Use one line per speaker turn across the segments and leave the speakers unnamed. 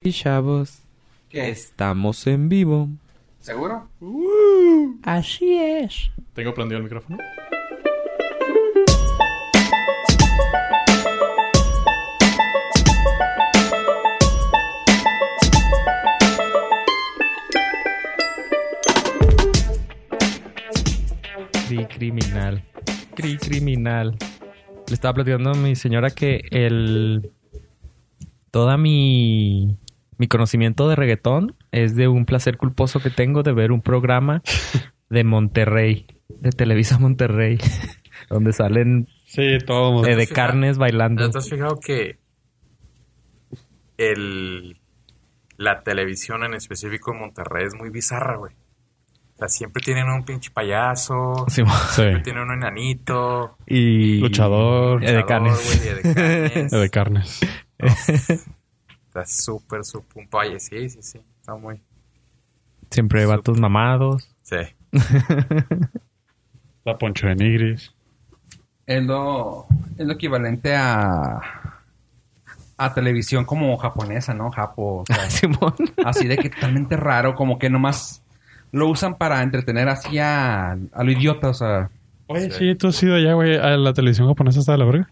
papi chavos.
¿Qué?
Estamos en vivo.
¿Seguro?
Así es.
Tengo prendido el micrófono.
Cri criminal. Cri criminal. Le estaba platicando a mi señora que el. Toda mi. Mi conocimiento de reggaetón es de un placer culposo que tengo de ver un programa de Monterrey, de Televisa Monterrey, donde salen
Sí, todo.
eh, de
fijado?
carnes
¿No
bailando.
te has fijado que el, la televisión en específico en Monterrey es muy bizarra, güey? O sea, siempre tienen un pinche payaso,
Sí,
Sí.
siempre tienen un enanito,
y
Luchador
Eh, de carnes.
güey, de carnes.
de carnes.
Está súper, súper un payaso. Sí, sí, sí. Está muy...
siempre vatos mamados.
Sí.
La poncho de nigris.
Es lo, es lo equivalente a, a televisión como japonesa, ¿no? Japo. o sea,
Simón.
así de que totalmente raro, como que nomás lo usan para entretener así a, a lo idiota, o sea.
Oye,
Sí.
sí, tú has ido allá, güey, a la televisión japonesa está de la verga.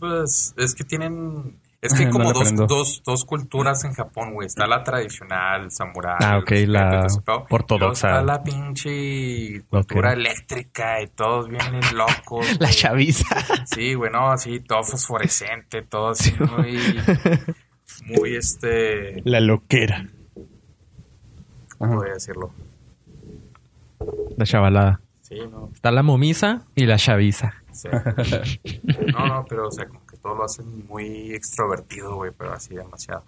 Pues es que tienen... Es que hay
No
como
le
dos,
prendo.
dos, dos culturas en Japón, güey. Está la tradicional, samurái.
Ah, ok,
los
la
jinetes, todo ese pedo.
ortodoxa.
Luego Está la pinche cultura eléctrica y todos vienen locos.
La
güey.
chaviza.
Sí, güey, no, así, todo fosforescente, todo así, muy... Muy, este...
La loquera.
¿Cómo voy a decirlo?
La chavalada.
Sí, no,
Está la momisa y la chaviza.
sí. No, no, pero, o sea, como que todo lo hacen muy extrovertido, güey, pero así demasiado.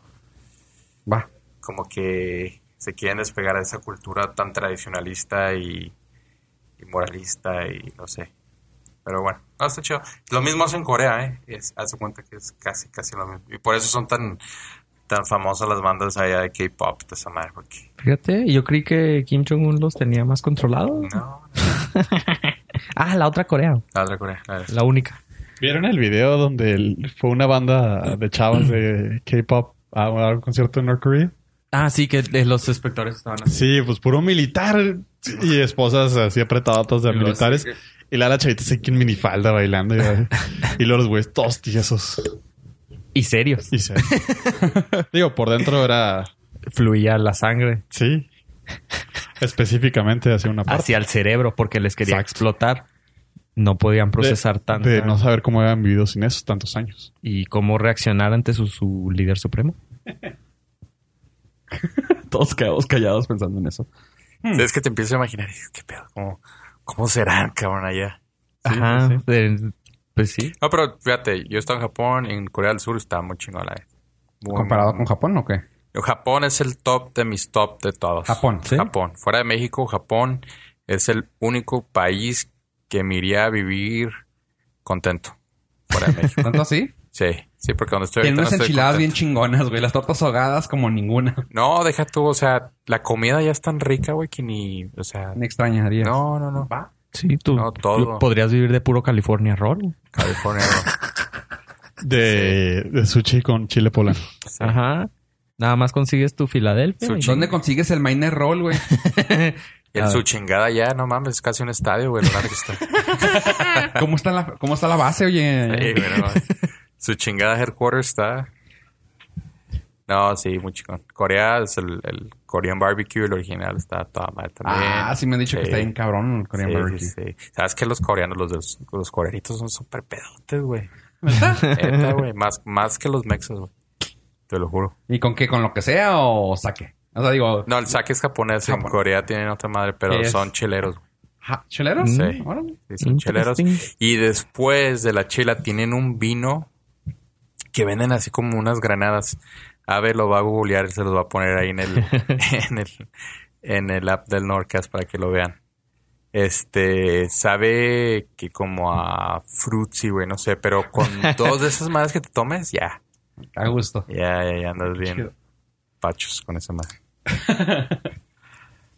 Va.
como que se quieren despegar a esa cultura tan tradicionalista y, y moralista y no sé. Pero bueno, no, está chido. Lo mismo hace en Corea, ¿eh? Es, hace cuenta que es casi, casi lo mismo. Y por eso son tan, tan famosas las bandas allá de K-pop, de esa madre, porque...
Fíjate, yo creí que Kim Jong-un los tenía más controlados.
No, no,
Ah, la otra Corea,
la otra Corea. la verdad.
la única.
¿Vieron el video donde el- fue una banda de chavas de K-pop a a un concierto en North Korea?
Ah, sí, que eh, los espectadores estaban así.
Sí, pues puro militar y esposas así apretadas de
Y los-
militares. Y la, la chavita así que en minifalda bailando. Y, y luego los güeyes todos tiesos.
Y serios.
Y se- Digo, por dentro era...
Fluía la sangre
Sí. Específicamente hacia una parte.
hacia el cerebro porque les quería
Exacto.
explotar. No podían procesar
de,
tanto.
De no saber cómo habían vivido sin eso tantos años.
Y cómo reaccionar ante su, su líder supremo.
Todos quedamos callados pensando en eso.
Es que te empiezo a imaginar, y dices, ¿qué pedo? ¿Cómo, cómo serán, cabrón, allá?
Ajá.
sí, sí.
de- pues sí.
No, pero fíjate, yo he estado en Japón, en Corea del Sur está muy chingón la muy,
¿Comparado
muy-
con Japón o qué?
Japón es el top de mis top de todos.
Japón, ¿sí?
Japón. Fuera de México, Japón es el único país que me iría a vivir contento. Fuera de México.
¿Tanto así?
sí, sí, porque donde estoy
Tienen
ahorita no
unas
estoy
enchiladas bien
contento.
chingonas, güey. Las tortas ahogadas como ninguna.
No, deja tú, o sea, la comida ya es tan rica, güey, que ni, o sea,
Me extrañaría.
no, no, no.
Sí, tú
No, todo.
podrías vivir de puro California Roll.
California. no.
De, de sushi con chile poblano.
Sí.
Ajá. Nada más consigues tu Filadelfia.
Su
¿Dónde consigues el Miner Roll, güey?
Y
Ah.
en su chingada ya, no mames, es casi un estadio, güey, lo grande que está.
¿Cómo está la, cómo está la base,
Sí,
oye?
güey, no mames. su chingada headquarters está. No, sí, muy chingón. Corea es el, el Korean barbecue, el original está a toda madre también.
Ah, sí me han dicho que
Sí.
está bien cabrón el Korean
Sí, sí,
barbecue.
sí. Sabes que los coreanos, los, de los, los coreanitos son súper pedotes, güey. Neta, güey. Más, más que los mexas, güey. Te lo juro.
¿Y con qué? ¿Con lo que sea o saque? O sea, digo,
No, el saque es japonés. En
Japón.
Corea tienen otra madre, pero
Sí, es.
son chileros, güey.
ja- ¿chuleros?
Sí.
Órale.
Sí, son chileros.
Interesting.
Y después de la chela tienen un vino que venden así como unas granadas. A ver, lo va a googlear, se los va a poner ahí en el, en el, en el app del Nordcast para que lo vean. Este, sabe que como a frutzi, güey, no sé, pero con dos de esas madres que te tomes, ya,
A gusto.
ya, ya, ya andas bien
Chido.
pachos con esa madre.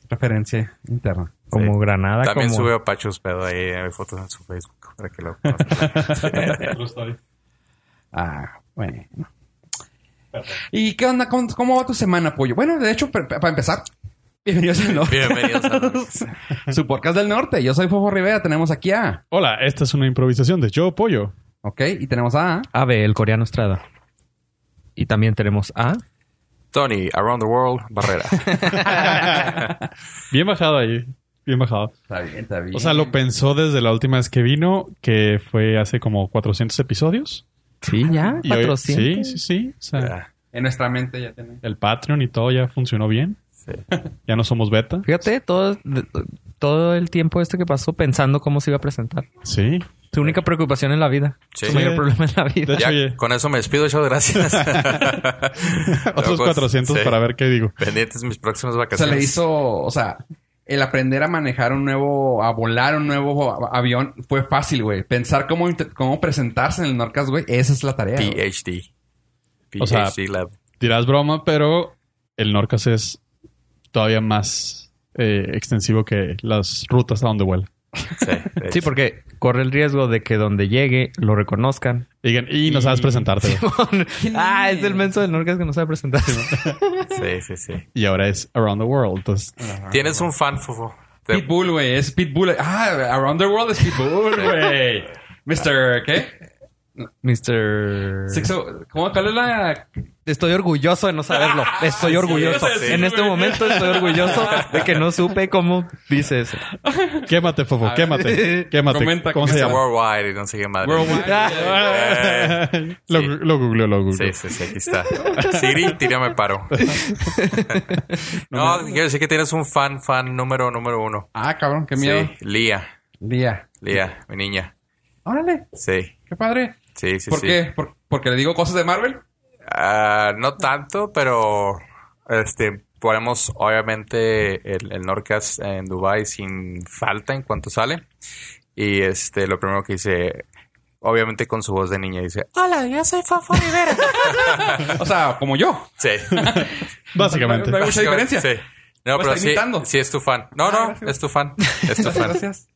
Referencia interna.
Como Granada,
También
Ah, como...
sube a pachos, pero ahí hay fotos en su Facebook para que lo conozcan.
Ah, bueno. ¿Y qué onda? ¿Cómo, cómo va tu semana, pollo? Bueno, de hecho, per- per- para empezar, bienvenidos al norte.
Bienvenidos a
Su podcast del norte. Yo soy Fofo Rivera. Tenemos aquí a.
Hola, esta es una improvisación de Yo Pollo.
Ok, y tenemos a.
Ave, el coreano Estrada. Y también tenemos a...
Tony, Around the World, Barrera.
Bien bajado ahí. Bien bajado.
Está bien, está bien.
O sea, lo pensó desde la última vez que vino, que fue hace como 400 episodios.
Sí, ya,
Y hoy-
400.
sí, sí, sí. O sea,
Ah.
Ya,
En nuestra mente ya tenemos.
el Patreon y todo ya funcionó bien.
sí.
Ya no somos beta.
Fíjate, todo, todo el tiempo este que pasó pensando cómo se iba a presentar.
Sí.
Tu única preocupación en la vida.
Sí.
Tu mayor problema en la
De
vida.
hecho,
Ya,
oye.
con eso me despido, yo gracias.
Otros
pues,
400 para ver qué digo.
Pendientes mis próximas
se
vacaciones.
le hizo, o sea, el aprender a manejar un nuevo, a volar un nuevo a- avión fue fácil, güey. Pensar cómo, int- cómo presentarse en el Norcas, güey, esa es la tarea. güey.
eh, PhD. PhD
O sea,
Lab.
Dirás broma, pero el Norcas es todavía más eh, extensivo que las rutas a donde vuela.
Sí, de
Sí,
hecho.
porque corre el riesgo de que donde llegue lo reconozcan.
Digan, y no sabes presentarte.
ah, es el menso del Norcas que no sabe presentarse.
Sí, sí, sí.
y ahora es Around the World. Entonces,
Tienes un fan, Fofo. Te-
Pitbull, güey, es Pitbull. Ah, Around the World es Pitbull, güey. Mr. ¿Qué?
Mister...
Sixo- ¿Cómo? ¿Cuál es la...?
Estoy orgulloso de no saberlo. Estoy orgulloso.
sí, sí,
en este momento estoy orgulloso de que no supe cómo dice eso.
quémate, Fofo,
ver.
quémate. Quémate.
Comenta,
¿Cómo se
Mr.
llama? Ah,
Worldwide y no sé qué madre. Eh,
lo,
Sí.
lo googleó, lo googleó.
Sí, sí, sí, aquí está. Siri, tira, me paro. No, quiero decir que tienes un fan, fan número, número uno.
Ah, cabrón, qué miedo.
Sí, Lía.
Día.
Lía, mi niña.
Órale,
Sí,
qué padre.
sí, sí,
¿Por
sí.
qué? ¿Por- ¿Porque le digo cosas de Marvel?
Ah, no tanto, pero este ponemos obviamente el, el Norcas en Dubai sin falta en cuanto sale. Y este lo primero que dice, obviamente con su voz de niña, dice, hola, yo soy Fafo Rivera.
O sea, como yo.
sí.
Básicamente.
No hay mucha diferencia.
Sí.
Me
No, pero
está
sí,
imitando.
sí es tu fan. No,
Ah,
no,
gracias.
es tu fan. Es tu fan.
Gracias.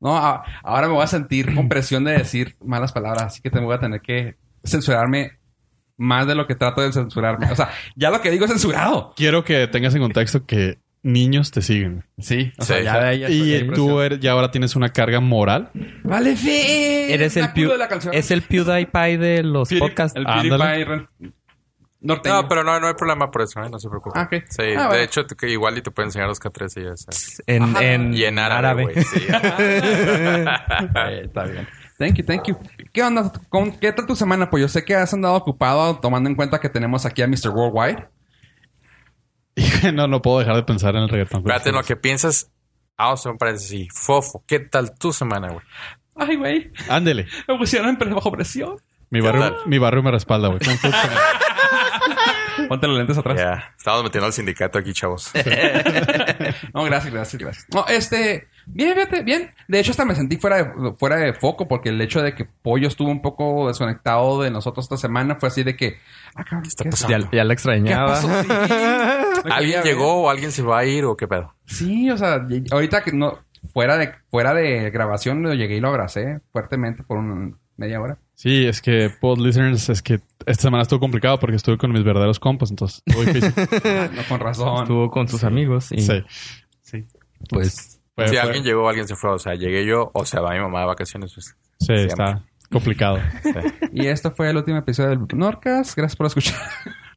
No, a- ahora me voy a sentir con presión de decir malas palabras, así que te voy a tener que censurarme más de lo que trato de censurarme. O sea, ya lo que digo es censurado.
Quiero que tengas en contexto que niños te siguen.
Sí, o
Sí.
sea, ya de ahí ya estoy
Y
con
tú
presión.
eres- ya ahora tienes una carga moral.
Vale, fe.
Eres el,
piu
Pew-
de la canción.
es el PewDiePie de los
Pewdie-
podcasts.
El
Ándale.
PewDiePie ren- norteño.
No, pero no, no hay problema por eso, ¿eh? no se preocupe.
Ah, ok.
Sí,
Ah,
de
bueno.
hecho, tú que igual y te pueden enseñar los K3 y ya sabes.
En, en
Y en árabe, güey. Sí,
Eh, está bien. Thank you, thank you. ¿Qué onda? ¿Cómo- ¿Qué tal tu semana? Pues yo sé que has andado ocupado tomando en cuenta que tenemos aquí a Mr. Worldwide.
Y no, no puedo dejar de pensar en el reggaetón.
Espérate, en lo que piensas. Ah, o sea, me parece sí. Fofo, ¿qué tal tu semana, güey?
Ay, güey.
Ándele.
Me pusieron bajo presión.
Mi
¿Qué
barrio, mi barrio me respalda, güey.
Ponte los lentes atrás.
Ya, estamos metiendo al sindicato aquí, chavos.
No, gracias, gracias, gracias. No, este, bien, fíjate, bien. De hecho, hasta me sentí fuera de, fuera de foco porque el hecho de que Pollo estuvo un poco desconectado de nosotros esta semana fue así de que, ah, cabrón, ¿qué
está
¿qué
pasando?
pues Ya, ya la extrañaba.
pasó? Sí. Me quería
¿Alguien
ver.
llegó o alguien se va a ir o qué pedo?
Sí, o sea, y- ahorita que no, fuera de, fuera de grabación, lo llegué y lo abracé fuertemente por una media hora.
Sí, es que, pod listeners, es que esta semana estuvo complicado porque estuve con mis verdaderos compas, entonces estuvo difícil.
Ah, no, con razón.
Estuvo con sus amigos y
Sí.
pues
Fue-
si
fue-
alguien llegó o alguien se fue. O sea, llegué yo o se va mi mamá de vacaciones. pues,
Sí,
siempre.
está complicado.
Y esto fue el último episodio del Norcas. Gracias por escuchar.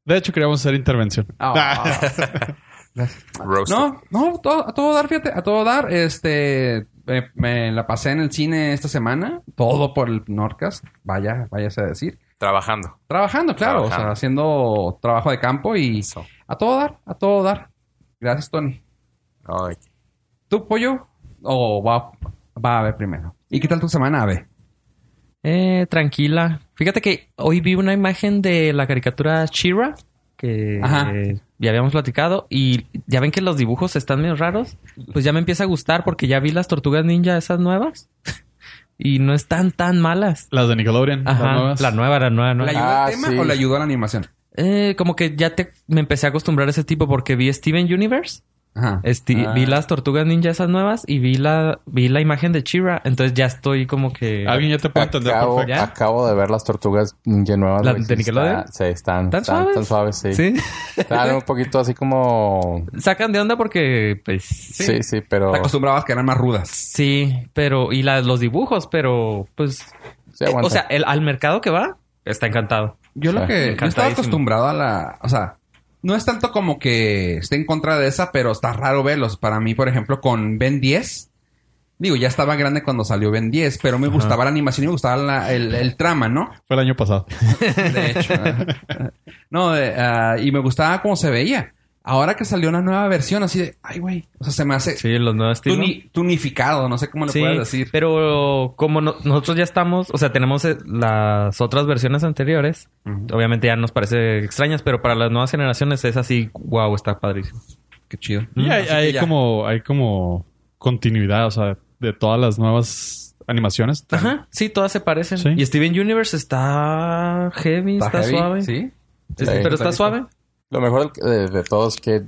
De hecho, queríamos hacer intervención.
Ah.
Roasted.
No, no, todo- a todo dar, fíjate, a todo dar. Este, me, me la pasé en el cine esta semana, todo por el Norcas, vaya, váyase a decir.
Trabajando.
Trabajando, claro, o sea,
Trabajando.
haciendo trabajo de campo y
Eso.
a todo dar, a todo dar. Gracias, Tony.
No, de-
¿Tú, pollo? O va, va a ver primero. ¿Y qué tal tu semana, Ave?
eh, tranquila. Fíjate que hoy vi una imagen de la caricatura Shira que
Ajá.
eh, ya habíamos platicado y ya ven que los dibujos están medio raros. Pues ya me empieza a gustar porque ya vi las tortugas ninja esas nuevas y no están tan malas.
Las de Nickelodeon,
Ajá,
las nuevas.
la nueva, la nueva,
¿Le
nueva.
ayudó
Ah,
el tema
sí.
o le ayudó la animación?
Eh, como que ya te, me empecé a acostumbrar a ese tipo porque vi Steven Universe
Ajá.
Este,
Ah.
Vi las tortugas ninja esas nuevas y vi la, vi la imagen de Chira. Entonces ya estoy como que.
Alguien ya te puede entender
Acabo,
perfecto.
¿Ya?
acabo de ver las tortugas ninja nuevas.
Ah, ¿La
güey,
de
sí está-
Nickelodeon?
sí, están,
¿Tan
están,
suaves?
están suaves, sí.
¿Sí?
Están un poquito así como...
Sacan de onda porque, pues.
Sí, sí, pero...
Te acostumbrabas que eran más rudas.
Sí, pero. Y la- los dibujos, pero pues.
sí
eh,
aguanta.
o sea, el, al mercado que va, está encantado.
Yo lo
Sí.
que... Yo estaba
Encantadísimo.
acostumbrado a la... O sea, no es tanto como que esté en contra de esa, pero está raro verlos. Para mí, por ejemplo, con Ben 10... Digo, ya estaba grande cuando salió Ben 10, pero me gustaba la animación y me gustaba la- el, el trama, ¿no?
Fue el año pasado.
De hecho. no, de, ah, y me gustaba cómo se veía. Ahora que salió una nueva versión, así de... Ay, güey. O sea, se me hace...
Sí, los nuevos estilos.
tuni- tunificado, no sé cómo le
Sí,
puedes decir.
pero como no- nosotros ya estamos, o sea, tenemos eh, las otras versiones anteriores, obviamente ya nos parece extrañas, pero para las nuevas generaciones es así, wow, está padrísimo.
Qué chido.
Mm,
Y hay,
Así que
hay
ya.
como, hay como continuidad, o sea, de todas las nuevas animaciones.
Ajá, sí, todas se parecen.
Sí.
Y Steven Universe está heavy, está,
heavy,
suave.
Sí.
Es-
Sí.
pero
Está
está suave.
Lo mejor del- de, de todo es que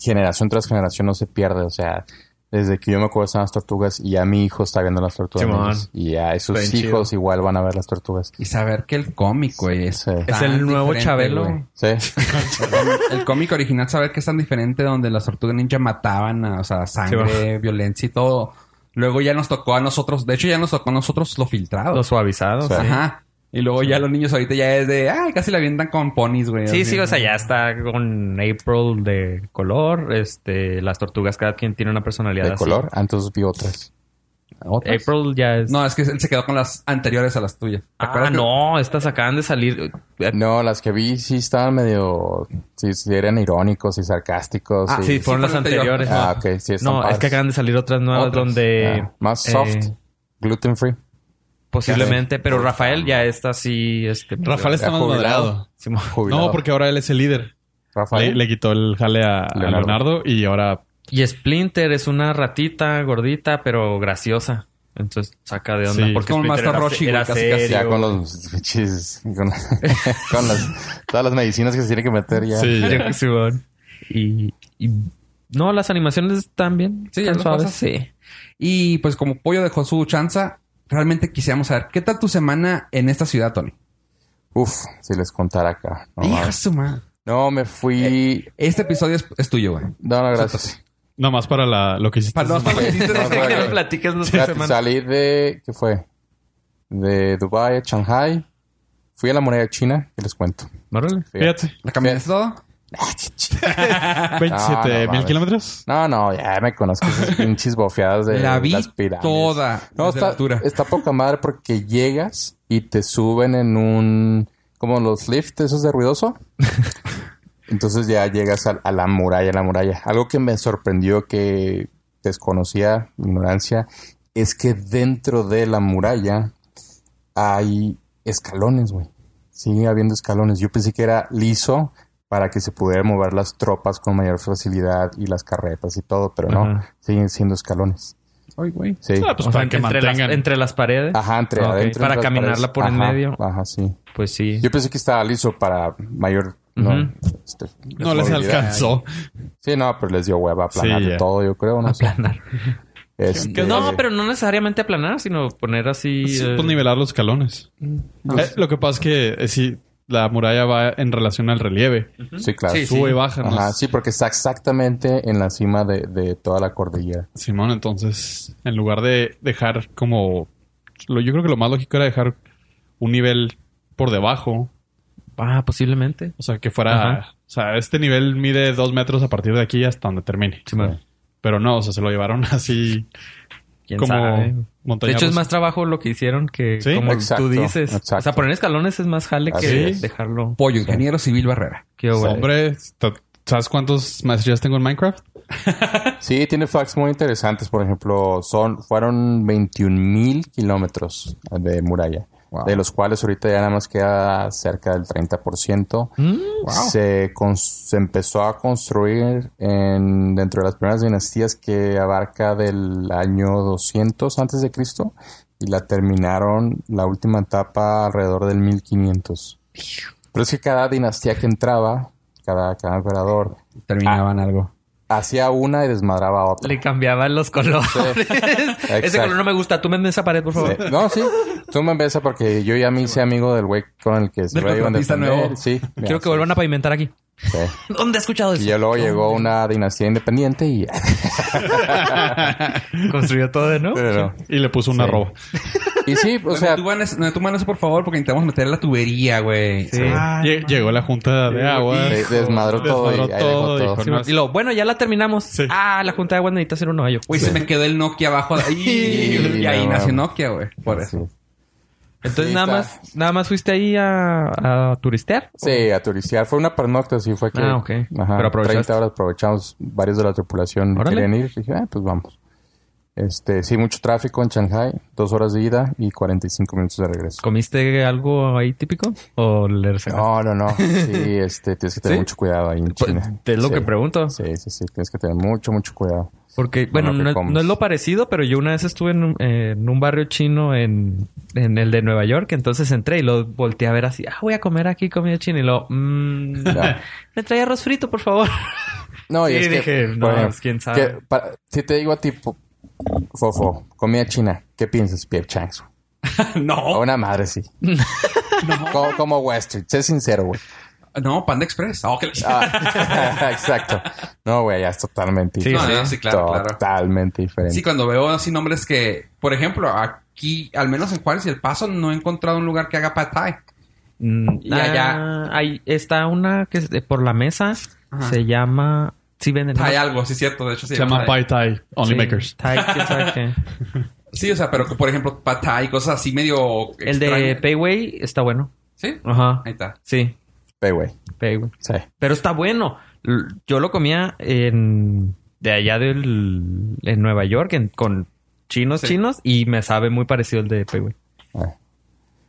generación tras generación no se pierde. O sea, desde que yo me acuerdo estaban las tortugas y ya mi hijo está viendo las tortugas.
Simón.
ninjas. y ya sus
Está bien
hijos igual van a ver las tortugas.
Y saber que el cómic, güey, es,
Sí. Es
tan
el nuevo
diferente,
Chabelo.
güey.
Sí.
El cómic original, saber que es tan diferente donde las tortugas ninja mataban, a, o sea, sangre, violencia y todo. Luego ya nos tocó a nosotros, de hecho ya nos tocó a nosotros lo filtrado.
Lo suavizado.
Sí.
Sí,
Ajá. Y luego ya los niños ahorita ya es de, ay, casi la avientan con ponis, güey.
sí,
Así,
sí, o sea, ya está con April de color, este, las tortugas cada quien tiene una personalidad
De
así.
color. Antes vi otras.
Eh,
¿Otras?
April ya es
No, es que él se quedó con las anteriores a las tuyas. ¿Te
Ah,
acuerdas que-
no, estas acaban de salir. eh,
No, las que vi sí estaban medio... Sí, sí eran irónicos y sarcásticos.
Ah,
y-
sí,
fue
fueron las
la anterior.
anteriores.
Ah, ok. Sí, están
no, es
padres.
que acaban de salir otras nuevas
Otras.
donde
Ah, Más soft.
eh,
Gluten free.
posiblemente, pero Rafael ya está así. Este,
Rafael está
Ya
más
jubilado.
moderado.
Simón.
Jubilado.
No, porque ahora él es el líder. Le,
Rafael.
le quitó el jale a a Leonardo.
Leonardo.
y ahora
Y Splinter es una ratita gordita, pero graciosa. Entonces saca de onda.
Sí.
Porque
Como
Splinter
Master
era,
Roshi, güey,
era
casi,
serio.
casi.
Ya con los pinches- con, con las, todas las medicinas que se tiene que meter ya.
sí, ya.
Yo- Simón. Y, y- no, las animaciones están bien.
Sí,
están
ya las
suaves.
cosas.
Sí.
Y pues como Pollo dejó su chanza, realmente quisiéramos saber, ¿qué tal tu semana en esta ciudad, Tony?
Uf, si les contara acá. No,
Hija de
mames.
su madre.
No, me fui.
Este episodio es, es tuyo, güey.
No, no,
pues,
gracias.
nomás para la, lo que hiciste.
Para- no, para-
No,
Que me
para-
platiques no sé,
Fíjate,
semana.
salí de. ¿Qué fue? De Dubai a Shanghai. Fui a la moneda china y les cuento.
Órale.
Fíjate,
¿La caminaste todo?
no
27 mil
mames.
kilómetros.
No, no, ya me conozco esas pinches bofeadas de
la vi
las pirámides.
toda.
No,
desde la
está,
altura.
está poca madre porque llegas y te suben en un... Como los lifts, esos de ruidoso. Entonces ya llegas a, a la muralla, a la muralla. Algo que me sorprendió que desconocía, ignorancia, es que dentro de la muralla hay escalones, güey. Sigue habiendo escalones. Yo pensé que era liso para que se pudieran mover las tropas con mayor facilidad y las carretas y todo, pero no.
Ajá.
Siguen siendo escalones.
Ay, güey.
Sí.
Ah, pues
O sea,
para que
entre, las,
mantengan.
entre las paredes.
Ajá, entre
Ok,
adentro.
para
entre las
caminarla
paredes.
por en
Ajá,
medio.
Ajá, sí.
Pues sí.
Yo pensé que estaba liso para mayor. No,
Ujú.
este,
No les
movilidad.
alcanzó.
Sí, no, pero les dio hueva a aplanar
Sí,
de
ya.
todo, yo creo. No, sé.
Aplanar.
Este,
No, pero no necesariamente aplanar, sino poner así.
Sí,
eh, pues
pues nivelar los escalones. Eh, lo que pasa es que eh, sí, la muralla va en relación al relieve.
Sí, claro.
Sí,
Sube y baja. ¿no?
Ajá, sí, porque está exactamente en la cima de, de toda la cordillera.
Simón, entonces, en lugar de dejar como... lo- yo creo que lo más lógico era dejar un nivel por debajo.
Ah, posiblemente.
O sea, que fuera...
Ajá.
O sea, este nivel mide dos metros a partir de aquí hasta donde termine.
Simón.
Pero no, o sea, se lo llevaron así
¿Quién
como
sabe?
montaña
De hecho, es
rusa.
más trabajo lo que hicieron que
Sí,
como
exacto,
tú dices.
exacto.
O sea, poner escalones es más jale
Así
que
es.
dejarlo.
Pollo, ingeniero civil Barrera.
Qué bueno.
Hombre, ta- ¿sabes cuántos maestrías tengo en Minecraft?
Sí, tiene facts muy interesantes. Por ejemplo, son fueron 21 mil kilómetros de muralla, de los cuales ahorita ya nada más queda cerca del 30%.
Mm,
se, cons- se empezó a construir en, dentro de las primeras dinastías que abarca del año 200 antes de Cristo y la terminaron la última etapa alrededor del 1500. Pero es que cada dinastía que entraba, cada, cada emperador, Ah,
Terminaban algo.
hacía una y desmadraba a otra.
Le cambiaban los colores. Ese
Exacto.
color no me gusta. Tú me esa pared, por favor.
Sí. No, sí. Tú me ves porque yo ya me hice amigo del güey con el que se
Del
lo iban a
contratista
defender.
nuevo.
Sí.
Quiero que vuelvan a pavimentar aquí.
Sí.
¿Dónde he escuchado eso?
Y ya luego llegó una dinastía independiente y...
Construyó todo, ¿no?
Pero-
Y le puso una
Sí.
arroba.
y sí, o
O
sea...
sea, tú manos, no, tú manos, por favor, porque necesitamos meter la tubería, güey.
Sí.
Lle- llegó la junta de agua.
sí, desmadró todo
Desmadró
y ahí dejó
todo,
todo.
dijo,
Sí,
no,
y luego, bueno, ya la terminamos.
Sí.
Ah, la Junta de Aguas necesita hacer un hoyo.
Güey, se me quedó el Nokia abajo. de- Y, y ahí
no,
nació
mames.
Nokia, güey. Por eso.
Sí.
Entonces
Sí,
nada
está.
más, nada más fuiste ahí a, a turistear.
Sí, a turistear. Fue una pernocta, sí fue que...
Ah, ok.
Ajá,
Pero aprovechaste.
30 horas aprovechamos. Varios de la tripulación
Órale.
querían ir. Dije, ah, pues vamos. Este, sí, mucho tráfico en Shanghai. Dos horas de ida y 45 minutos de regreso.
¿Comiste algo ahí típico? ¿O le sacaste?
No, no, no. Sí, este, tienes que tener
¿Sí?
mucho cuidado ahí en China.
Es lo
Sí.
que pregunto.
Sí, sí, sí. Tienes que tener mucho, mucho cuidado.
Porque, bueno,
lo que
no,
comes.
no es lo parecido, pero yo una vez estuve en un, eh, en un barrio chino en, en el de Nueva York. Entonces entré y lo volteé a ver así. Ah, voy a comer aquí comida china. Y lo... Mmm,
Ya.
me trae arroz frito, por favor.
No,
Sí,
y es
dije,
que...
no,
por ejemplo,
pues, quién sabe.
que para- si te digo a ti, po- Fofo, comida china, ¿qué piensas? Pierre Changs. A
Oh. no,
una madre, sí. Como, como Wall Street. Sé sincero, güey.
no, Panda Express. Ah, que la-
Ah, exacto. No, güey, ya es totalmente
Sí,
diferente.
no, sí, claro, claro.
Totalmente diferente.
Sí, cuando veo así nombres que, por ejemplo, aquí, al menos en Juárez y El Paso, no he encontrado un lugar que haga pad thai.
Mm,
Y allá-
ah, ahí está una que es de- por la mesa
Ajá.
se llama. Sí, venden.
Hay algo, sí, es cierto. De hecho, sí.
Se llama
Thai.
Pai Tai Only
Sí,
Makers.
Thai, quién sabe qué.
Sí, o sea, pero por ejemplo, pad thai, cosas así medio.
El de
extrañas.
Payway está bueno.
Sí.
Ajá.
Ahí está.
Sí,
Ve, güey.
Payway.
Sí.
Pero está bueno. L- Yo lo comía en. De allá del. En Nueva York, en- con chinos,
Sí.
chinos. Y me sabe muy parecido el de Payway.
Ah.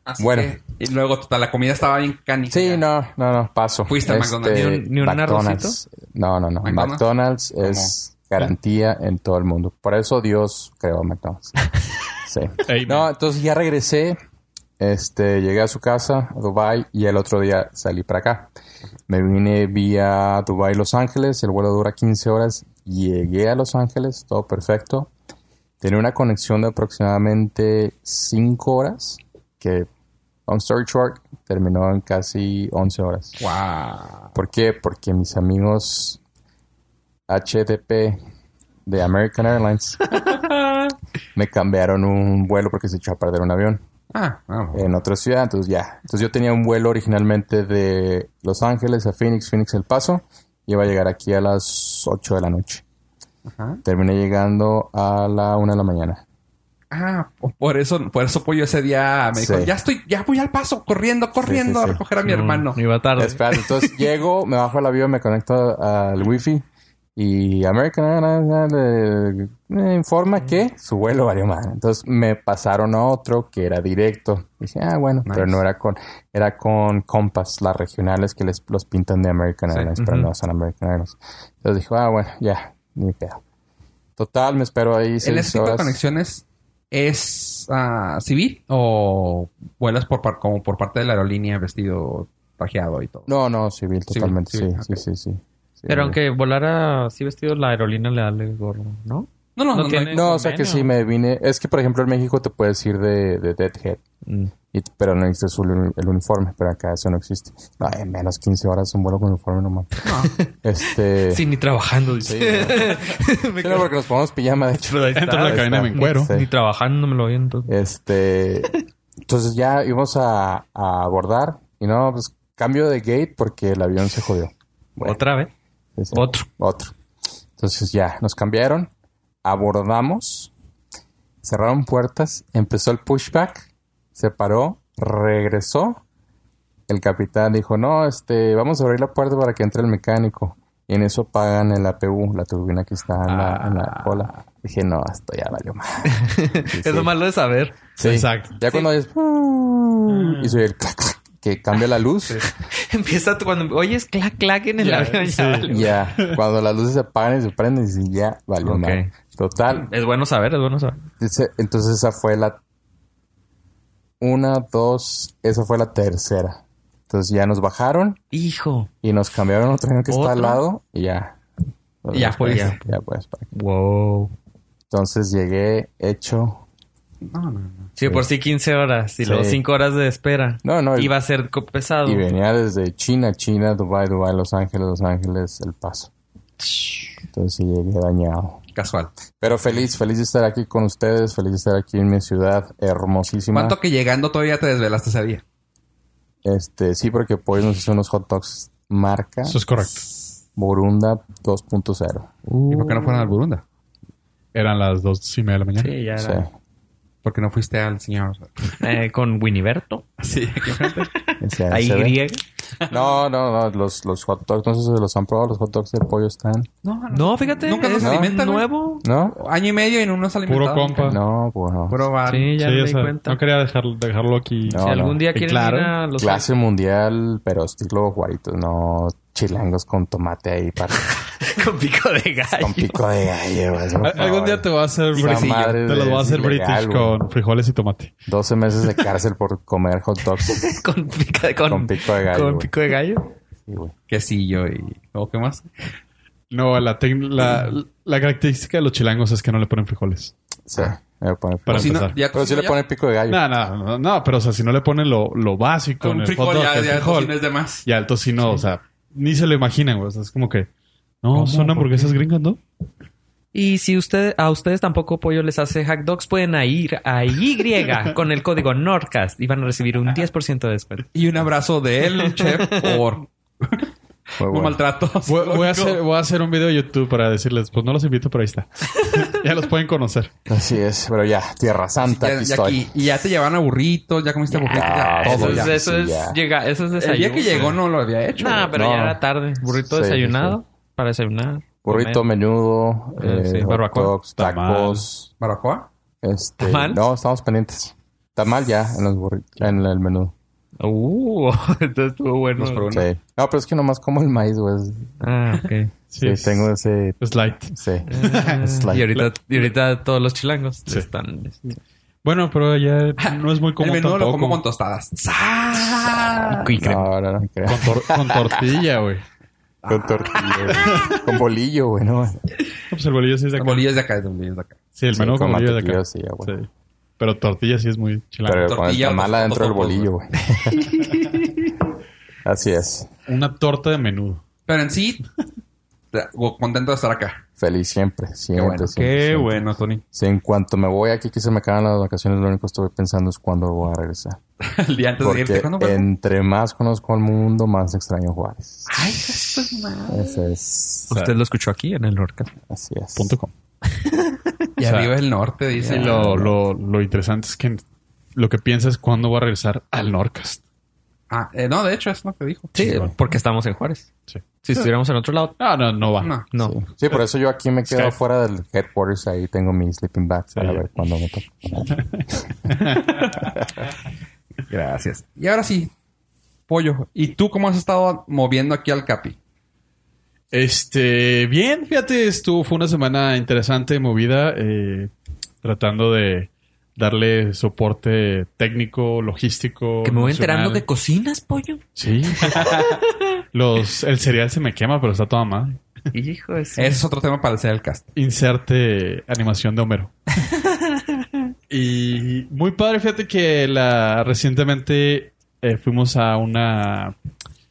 Así
Bueno.
que- y luego, total, la comida estaba bien canica.
Sí, no, no, no, paso. Este,
¿Fuiste a
¿Ni
McDonald's?
un- ni un
McDonald's. No, no, no.
¿McDonald's?
McDonald's, es garantía en todo el mundo. Por eso Dios creó a McDonald's. sí.
Ey,
No, entonces ya regresé. Este, llegué a su casa, a Dubai, y el otro día salí para acá. Me vine vía Dubai, Los Ángeles. El vuelo dura 15 horas. Llegué a Los Ángeles, todo perfecto. Tenía una conexión de aproximadamente 5 horas, que, on story short, terminó en casi 11 horas.
Wow.
¿Por qué? Porque mis amigos HTP de American Airlines me cambiaron un vuelo porque se echó a perder un avión
Ah, vamos.
en otra ciudad. Entonces ya. Entonces yo tenía un vuelo originalmente de Los Ángeles a Phoenix, Phoenix El Paso. y Iba a llegar aquí a las 8 de la noche.
Ajá.
Terminé llegando a la 1 de la mañana.
Ah, po- por eso, por eso Pollo ese día me dijo,
Sí.
ya estoy, ya voy al paso, corriendo, corriendo
Sí, sí,
a
sí.
recoger a mi hermano.
Mm, Iba tarde.
Espérate, entonces llego, me bajo el avión, me conecto al wifi y American Airlines eh, me informa que su vuelo valió madre. Entonces me pasaron a otro que era directo. Dije, ah, bueno,
Nice.
pero no era con, era con Compass, las regionales que les, los pintan de American
Sí,
Airlines, pero
ujú.
no son American Airlines. Entonces dijo, ah, bueno, ya, ni pedo. Total, me espero ahí
¿En
seis
ese tipo de
horas.
conexiones es ah, civil o vuelas por par- como por parte de la aerolínea vestido trajeado y todo?
No, no, civil,
Civil,
totalmente, sí,
civil,
sí, sí, sí, Sí.
Pero aunque volara así vestido, la aerolínea le da el gorro, ¿no?
No, no,
No
no, no.
tiene-
No, o sea que
convenio.
sí me vine. Es que, por ejemplo, en México te puedes ir de, de Deadhead,
Mm.
y- pero no necesitas un- el uniforme, pero acá eso no existe. No, en menos 15 horas un vuelo con uniforme nomás. Este.
Sí, ni trabajando.
sí,
dice.
no.
Me
Sí, no, porque nos ponemos pijama, de hecho.
Pero ahí está.
Entra a la
Ahí
cabina
está.
en cuero.
Sí.
Ni trabajando me lo oyen. entonces.
Este. Entonces ya íbamos a, a abordar y no, pues cambio de gate porque el avión se jodió. Bueno.
Otra vez.
Sí, sí.
Otro.
Otro. Entonces ya, nos cambiaron, abordamos, cerraron puertas, empezó el pushback, se paró, regresó. El capitán dijo, no, este, vamos a abrir la puerta para que entre el mecánico. Y en eso pagan el APU, la turbina que está en la, en la cola. Dije, no, esto ya valió más.
Ah. Es lo malo de saber.
Exacto.
Ya cuando es... Y soy el clac, clac, que cambia la luz.
Empieza tú cuando oyes clac clac en el
Ya,
avión. ya
sí.
vale.
Ya, cuando las luces se apagan y se prenden, dices, ya valió
Ok.
madre". Total,
Es bueno saber, es bueno saber.
Dice, entonces esa fue la... Una, dos, esa fue la tercera. Entonces ya nos bajaron
Hijo.
y nos cambiaron otro avión que está al
¿Otro?
lado y ya.
Y ya
pues.
fuiste.
Ya pues. para-
Wow.
Entonces llegué hecho.
No, no, no.
Sí, por sí 15 horas y luego
Sí.
5 horas de espera.
No, no.
Iba a ser co- pesado.
Y venía desde China, China, Dubai, Dubai, Los Ángeles, Los Ángeles, El Paso. Entonces sí llegué dañado.
Casual.
Pero feliz, feliz de estar aquí con ustedes, feliz de estar aquí en mi ciudad hermosísima.
¿Cuánto que llegando todavía te desvelaste ese día?
Este, sí, porque pues nos hizo unos hot dogs marca
Eso es correcto.
Burunda 2.0.
¿Y por qué no fueron al Burunda?
Eran las dos y media de la mañana.
Sí, ya
Uh, Sí.
era.
¿Por qué no fuiste al señor?
Eh, con Winiberto.
Sí, aquí enfrente.
Ese
Ahí
ACB.
griega.
No, no, no, los, los hot dogs, no sé si los han probado, los hot dogs de pollo están.
No, no.
No, fíjate.
Nunca nos
es
alimentan, güey.
nuevo.
¿No?
Año y medio y no nos
Puro
alimentado.
compa.
No, pues no.
Puro bar.
Sí, ya
Sí,
me
o
di
sea,
cuenta.
no quería dejarlo, dejarlo aquí.
No,
si algún día
Sí,
quieren
claro.
ir a los
Clase mundial, pero estilo guaritos, no chilangos con tomate ahí para,
con pico de
con
gallo.
pico de gallo. güey, por
Al- Algún
favor.
día te va a hacer
eh. Esa
British.
madre
Te los
de-
va a hacer
es ilegal,
British
güey.
con frijoles y tomate.
12 meses de cárcel por comer hot dogs
con, pica- con,
con pico de gallo.
con
güey.
pico de gallo.
Sí, güey.
Quesillo y... ¿O qué más?
No, la, tec- la,
Mm.
la característica de los chilangos es que no le ponen frijoles.
Sí, me lo pone-
Para
O si no,
empezar.
ya-
Pero sí le
ya-
pone pico de gallo.
No, no, no, no, pero o sea, si no le ponen lo, lo básico en
Con
el
frijol,
hot dog,
ya,
el
ya, el
frijol,
tocino es de más.
y al tocino, o sea, ni se lo imaginan, güey. O sea, es como que, no,
¿Cómo?
son
¿Por
hamburguesas gringas, ¿no?
Y si usted, a ustedes tampoco pollo les hace hack dogs, pueden a ir a Y con el código NORCAST y van a recibir un 10% de descuento.
Y un abrazo de él, chef, por
Muy
no
bueno.
maltrato.
Voy, voy a hacer, voy a hacer un video de YouTube para decirles, pues no los invito, pero ahí está. ya los pueden conocer.
Así es, pero ya, Tierra Santa,
Ya,
aquí
ya
estoy.
aquí- y ya te llevaron a burritos, ya comiste burritos, ya
Ah,
todo.
eso,
ya.
es, eso,
sí,
es
ya.
llega- eso es
El
desayuno.
día que llegó no lo había hecho.
Nah,
güey.
pero
No.
ya era tarde. Burrito
Sí,
desayunado para desayunar.
Burrito,
comer.
menudo,
Eh,
eh,
sí,
hot
barbacoa,
dogs, tacos,
¿Baracoa?
este...
¿Tamal?
No, estamos pendientes. Tamal ya en los burritos, en el menudo.
Uh, entonces estuvo bueno.
Nos probó.
Sí. No, pero es que nomás como el maíz, güey.
Ah, ok.
Sí,
es-
tengo ese...
es light.
Sí.
Ah,
Es light.
y, ahorita, y ahorita todos los chilangos
Sí.
están...
Bueno, pero ya no es muy
El
común
menudo lo
tampoco.
como con
Con,
tostadas.
Y crema.
Ah. No, no, no, creo.
tor- con tortilla, güey.
Con tortilla, güey. Con bolillo, güey, ¿no?
No, Pues el bolillo sí es de acá.
Bolillas de acá, bolillas de acá.
Sí, el
Sí,
menú
con
con bolillo es de acá.
mantequilla, sí, ya, güey.
Sí. Pero tortilla sí es muy chilango.
Pero con el
Tortilla,
tamal
pues,
adentro del
totopos,
bolillo, güey. Así es.
Una torta de menudo.
Pero en sí, te- contento de estar acá.
Feliz siempre, siempre,
bueno.
siempre, siempre.
bueno, Tony.
Sí, en cuanto me voy aquí, que se me acaban las vacaciones, lo único que estoy pensando es cuándo voy a regresar.
El día antes de irte.
Porque
¿Cuándo fue?
entre más conozco al mundo, más extraño Juárez.
Ay, esto es mal.
Ese es.
Usted lo escuchó aquí en el Lorca.
Así es.
Punto com.
Y
O sea,
arriba el norte,
Sí,
dice.
lo, lo, lo interesante es que lo que piensa es cuándo va a regresar al Norcast.
Ah, eh, no, de hecho, es lo que dijo.
Sí,
bueno.
porque estamos en Juárez.
Sí.
Si estuviéramos en otro lado,
No, no, no va.
No.
no.
Ah. Sí. Sí, por eso yo aquí me quedo
Skype.
fuera del headquarters. Ahí tengo mi sleeping bag para
ya.
ver cuándo me toca.
Gracias. Y ahora sí, Pollo, ¿y tú cómo has estado moviendo aquí al Capi?
Este, bien, fíjate, estuvo, fue una semana interesante, movida, eh, tratando de darle soporte técnico, logístico.
Que me voy enterando que
emocional.
cocinas, pollo.
Sí. Los, el cereal se me quema, pero está toda madre.
Hijo
Ese es otro tema para hacer el cast.
Inserte animación de Homero. y muy padre, fíjate que la recientemente eh, fuimos a una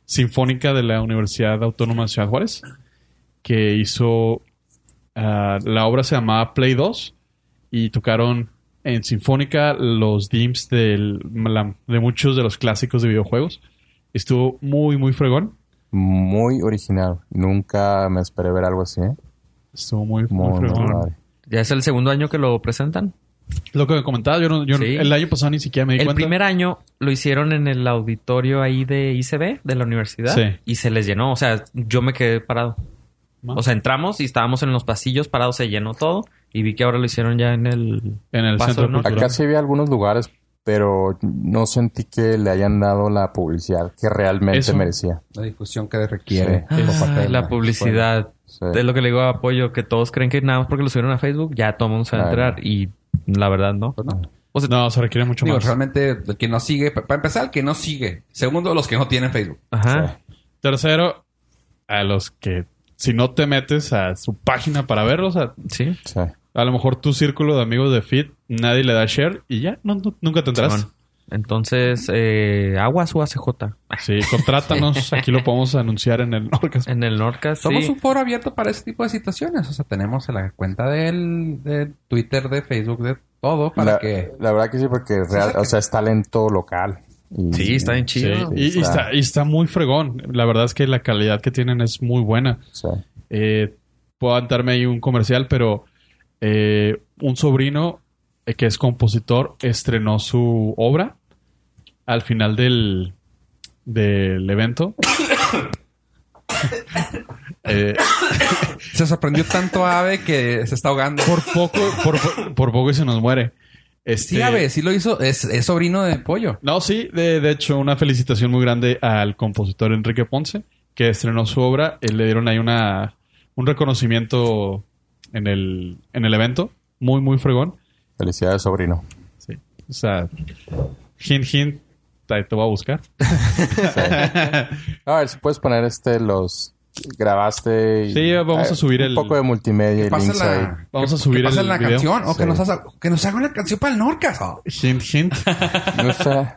sinfónica de la Universidad Autónoma de Ciudad Juárez que hizo ah, la obra se llamaba Play 2 y tocaron en sinfónica los DIMs del- la- de muchos de los clásicos de videojuegos. Estuvo muy, muy fregón.
Muy original. Nunca me esperé ver algo así, ¿eh?
Estuvo muy, muy,
Muy, muy
fregón.
padre.
Ya es el segundo año que lo presentan.
Lo que me comentaba, yo, no- yo no-
Sí.
el año pasado ni siquiera me di
El
cuenta.
primer año lo hicieron en el auditorio ahí de ICB, de la universidad.
Sí. Ah.
Y se les llenó. O sea, yo me quedé parado.
Ma.
O sea, entramos y estábamos en los pasillos parados, se llenó todo. Y vi que ahora lo hicieron ya en el...
En el
Paso
centro
Norte.
cultural.
Acá sí había algunos lugares, pero no sentí que le hayan dado la publicidad que realmente
Eso.
merecía.
La difusión que requiere.
Sí.
por parte
Ay,
de
Ah, la publicidad.
Sí.
Es lo que le digo a Apoyo, que todos creen que nada más porque lo subieron a Facebook, ya todo el mundo se va a
Claro.
enterar. Y la verdad, no.
Pues no.
O sea,
No, se requiere mucho
Digo,
más.
realmente, el que no sigue, pa- para empezar, el que no sigue. Segundo, los que no tienen Facebook.
ajá.
Tercero, a los que si no te metes a su página para verlo, o sea,
Sí.
Sí.
a lo mejor tu círculo de amigos de Fit, nadie le da share y ya, no, no- nunca te entras.
Simón. Entonces, eh, aguas UACJ.
Sí, contrátanos, aquí lo podemos anunciar en el Norcas.
En el Norcas.
Somos
sí.
un foro abierto para ese tipo de situaciones. O sea, tenemos la cuenta del, de Twitter, de Facebook, de todo para
La,
que...
la verdad que sí, porque real- o sea, es talento local. Y-
Sí, está bien
Sí,
chido.
y, y está, y está muy fregón. La verdad es que la calidad que tienen es muy buena.
sí.
Eh, puedo aventarme ahí un comercial, pero eh, un sobrino eh, que es compositor estrenó su obra al final del, del evento. Eh,
Se sorprendió tanto Ave que se está ahogando.
por poco, por, po- por poco y se nos muere. Este,
Sí, Ave, sí lo hizo. Es, es sobrino de Pollo.
No, sí, de, de hecho, una felicitación muy grande al compositor Enrique Ponce, que estrenó su obra. Eh, le dieron ahí una, un reconocimiento en el, en el evento. Muy, muy fregón.
Felicidades, sobrino.
Sí. O sea, hint, hint, ahí te voy a buscar.
Sí. No, a ver si puedes poner este, los grabaste. y-
Sí, vamos a
eh,
subir el-
Un poco de multimedia y
Pasa
links ahí.
la,
Vamos
que-
a subir
que pasa
el
la
video.
canción. O
Sí.
que, nos haga, que nos haga una canción para el Norcas. oh.
Hint, hint.
No está-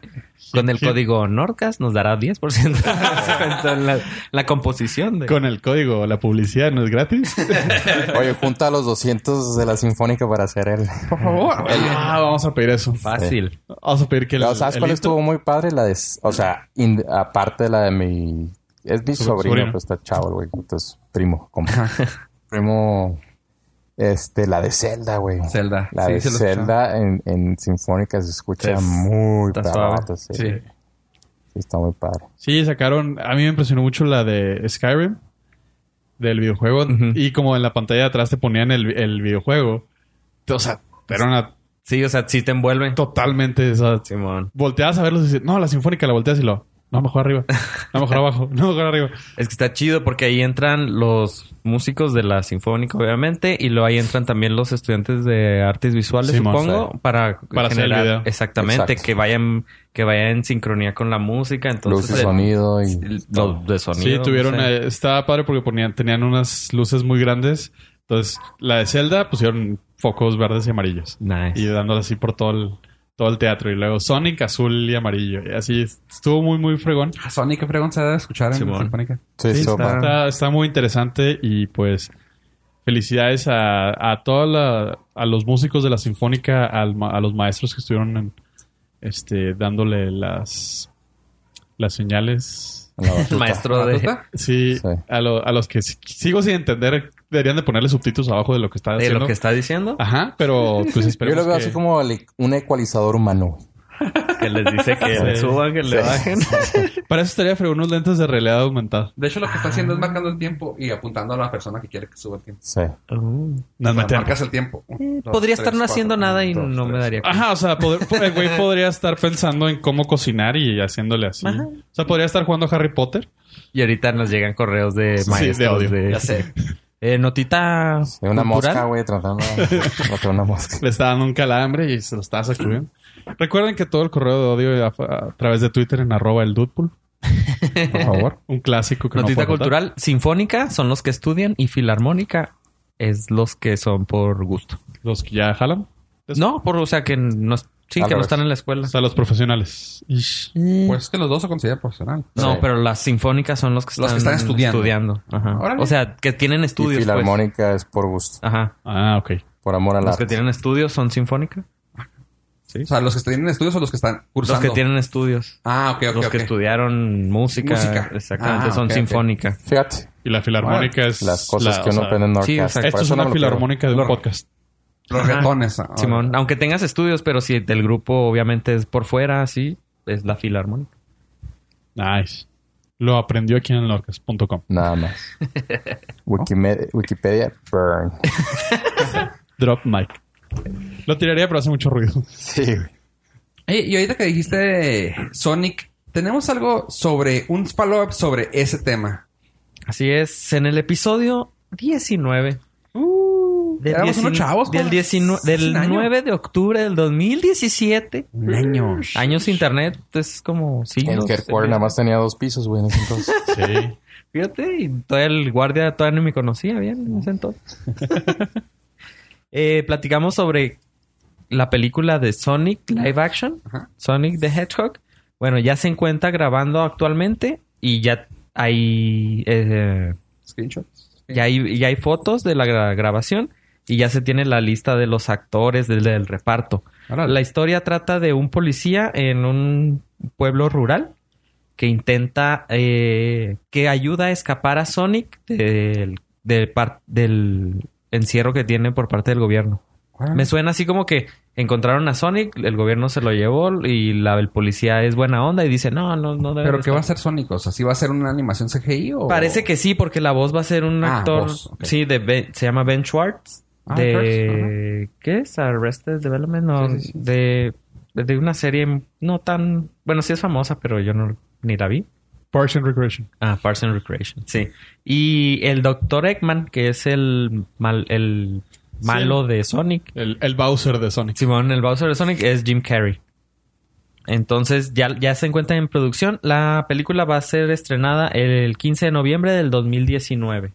Con el código Norcas nos dará 10% de descuento en la, la composición. De...
Con el código, la publicidad no es gratis.
Oye, junta a los 200 de la Sinfónica para hacer él.
Por favor.
ah, vamos a pedir eso.
Fácil.
Vamos a pedir que el,
¿Sabes
el
cuál
intro-
estuvo muy padre? La de, o sea, in- aparte de la de mi... Es mi
Su-
sobrino,
sobrino.
pero está chavo el güey. Entonces, primo. compa. primo... Este, la de Zelda, güey.
Zelda.
La
Sí,
de
sí lo he
Zelda en, en Sinfónica se escucha
Es-
muy
está
padre. Sí,
Sí.
sí, está muy padre.
Sí, sacaron. A mí me impresionó mucho la de Skyrim, del videojuego.
Ujú.
Y como en la pantalla de atrás te ponían el, el videojuego. O sea, era una-
Sí, o sea, sí te envuelve.
totalmente. o sea,
Simón.
volteabas a verlos y dices, no, la sinfónica la volteas y lo. No, mejor arriba. No, mejor abajo. No, mejor arriba.
Es que está chido porque ahí entran los músicos de la Sinfónica, obviamente, y luego ahí entran también los estudiantes de artes visuales,
Simón,
supongo, para,
Para hacer el video.
Exactamente,
Exacto.
que vayan que vaya en sincronía con la música. Entonces,
Luz y
el-
sonido y...
el- lo de sonido.
Sí,
no
tuvieron.
sé.
eh, estaba padre porque ponían, tenían unas luces muy grandes. Entonces, la de Zelda pusieron focos verdes y amarillos.
Nice.
y dándole así por todo el, todo el teatro. Y luego Sonic azul y amarillo. Y así estuvo muy, muy fregón.
A Sony, qué fregón se debe escuchar en
Simón.
Sinfónica.
Sí,
Sí,
estuvo
está-
padre.
Está, está muy interesante y pues felicidades a, a toda la- a los músicos de la Sinfónica, al ma- a los maestros que estuvieron en- este, dándole las, las señales.
La batuta.
Maestro de,
¿Batuta?
Sí,
Sí.
A, lo- a los que si- sigo sin entender, deberían de ponerle subtítulos abajo de lo que está
de
haciendo.
lo que está diciendo,
Ajá, pero pues
Yo
esperemos
lo veo
que-
así como el- un ecualizador humano. güey.
que les dice que
Sí.
le suban, que le
Sí.
bajen.
Para eso estaría fregón unos lentes de realidad aumentada.
De hecho, lo que está haciendo es marcando el tiempo y apuntando a la persona que quiere que suba el tiempo.
Sí.
Nos
O sea,
metemos.
marcas el tiempo. Un, dos,
Podría
tres,
estar no
cuatro,
haciendo
un,
nada y
dos,
no me
tres.
daría cuenta.
Ajá, o sea, poder- po- el güey podría estar pensando en cómo cocinar y haciéndole así.
Ajá.
O sea, podría estar jugando a Harry Potter.
Y ahorita nos llegan correos de
Sí,
maestros
de audio.
de-
Ya sé.
Eh, notita
De una
cultural.
mosca, güey, tratando de matar una mosca.
Le está dando un calambre y se lo está sacudiendo. Recuerden que todo el correo de odio a, a través de Twitter en arroba el Dudpool. Por favor. Un clásico que no
Notita
puede faltar.
cultural, sinfónica son los que estudian y filarmónica es los que son por gusto.
Los que ya jalan. Eso.
No, por o sea que no es- sí,
Al
que no
revés.
están en la escuela.
O sea, los profesionales.
Pues es que los dos se consideran profesional.
No,
Sí.
pero las sinfónicas son los que están,
Los que están estudiando.
Ajá.
Órale.
O sea, que tienen
Y
estudios. pues.
filarmónica es por gusto,
Ajá.
Ah, ok.
por amor al
Los que
arte.
tienen estudios son sinfónica.
O sea, los que tienen estudios o los que están cursando.
Los que tienen estudios.
Ah, ok, ok.
los
ok.
que estudiaron música.
Música.
Exactamente,
Ah,
son
ok, ok.
sinfónica.
Fíjate,
Y la filarmónica es.
las cosas
la-
que
o
uno
sea,
aprende en
sí,
Norcas.
exacto.
Por
Esto es
eso
una
no me lo creo.
filarmónica de un podcast.
Los
Ajá.
retones. ah,
Simón, aunque tengas estudios, pero si el grupo obviamente es por fuera, sí, es la filarmónica.
Nice. Lo aprendió aquí en lorcas.com.
Nada más. Wikimedia, Wikipedia, burn.
Drop mic. Lo tiraría, pero hace mucho ruido.
Sí, güey.
Oye, y ahorita que dijiste Sonic, tenemos algo sobre un follow-up sobre ese tema.
Así es, en el episodio 19. del
éramos unos
19
chavos,
del,
joder.
19
Hace
del
un año.
9 de octubre del 2017.
Un año.
Años internet es como siglos.
El headquarter nada más tenía dos pisos, güey, en ese entonces.
Sí.
Fíjate, y todavía el guardia todavía no me conocía bien en ese entonces. Eh, platicamos sobre la película de Sonic Live Action,
Ajá.
Sonic the Hedgehog. Bueno, ya se encuentra grabando actualmente y ya hay eh,
Screenshots.
ya hay, ya hay fotos de la gra- grabación y ya se tiene la lista de los actores del, del reparto.
Órale.
La historia trata de un policía en un pueblo rural que intenta, eh, que ayuda a escapar a Sonic del, del par- del encierro que tiene por parte del gobierno.
Ah.
Me suena así como que encontraron a Sonic, el gobierno se lo llevó y la, el policía es buena onda y dice, no, no, no debe
¿Pero
de
qué va a
estar".
ser Sonic? O sea, ¿sí va a ser una animación CGI o...?
Parece que sí, porque la voz va a ser un
Ah,
actor.
voz, ok.
Sí, de Ben- se llama Ben Schwartz.
Ah,
de. ¿Qué es? Arrested Development. No,
Sí, sí, sí.
De, de una serie no tan. Bueno, sí es famosa, pero yo no ni la vi.
Parks and Recreation.
Ah, Parks and Recreation. Sí. Y el Dr. Eggman, que es el, mal, el malo de Sonic.
El, el Bowser de Sonic.
Simón, el Bowser de Sonic es Jim Carrey. Entonces ya, ya se encuentra en producción. La película va a ser estrenada el 15 de noviembre del 2019.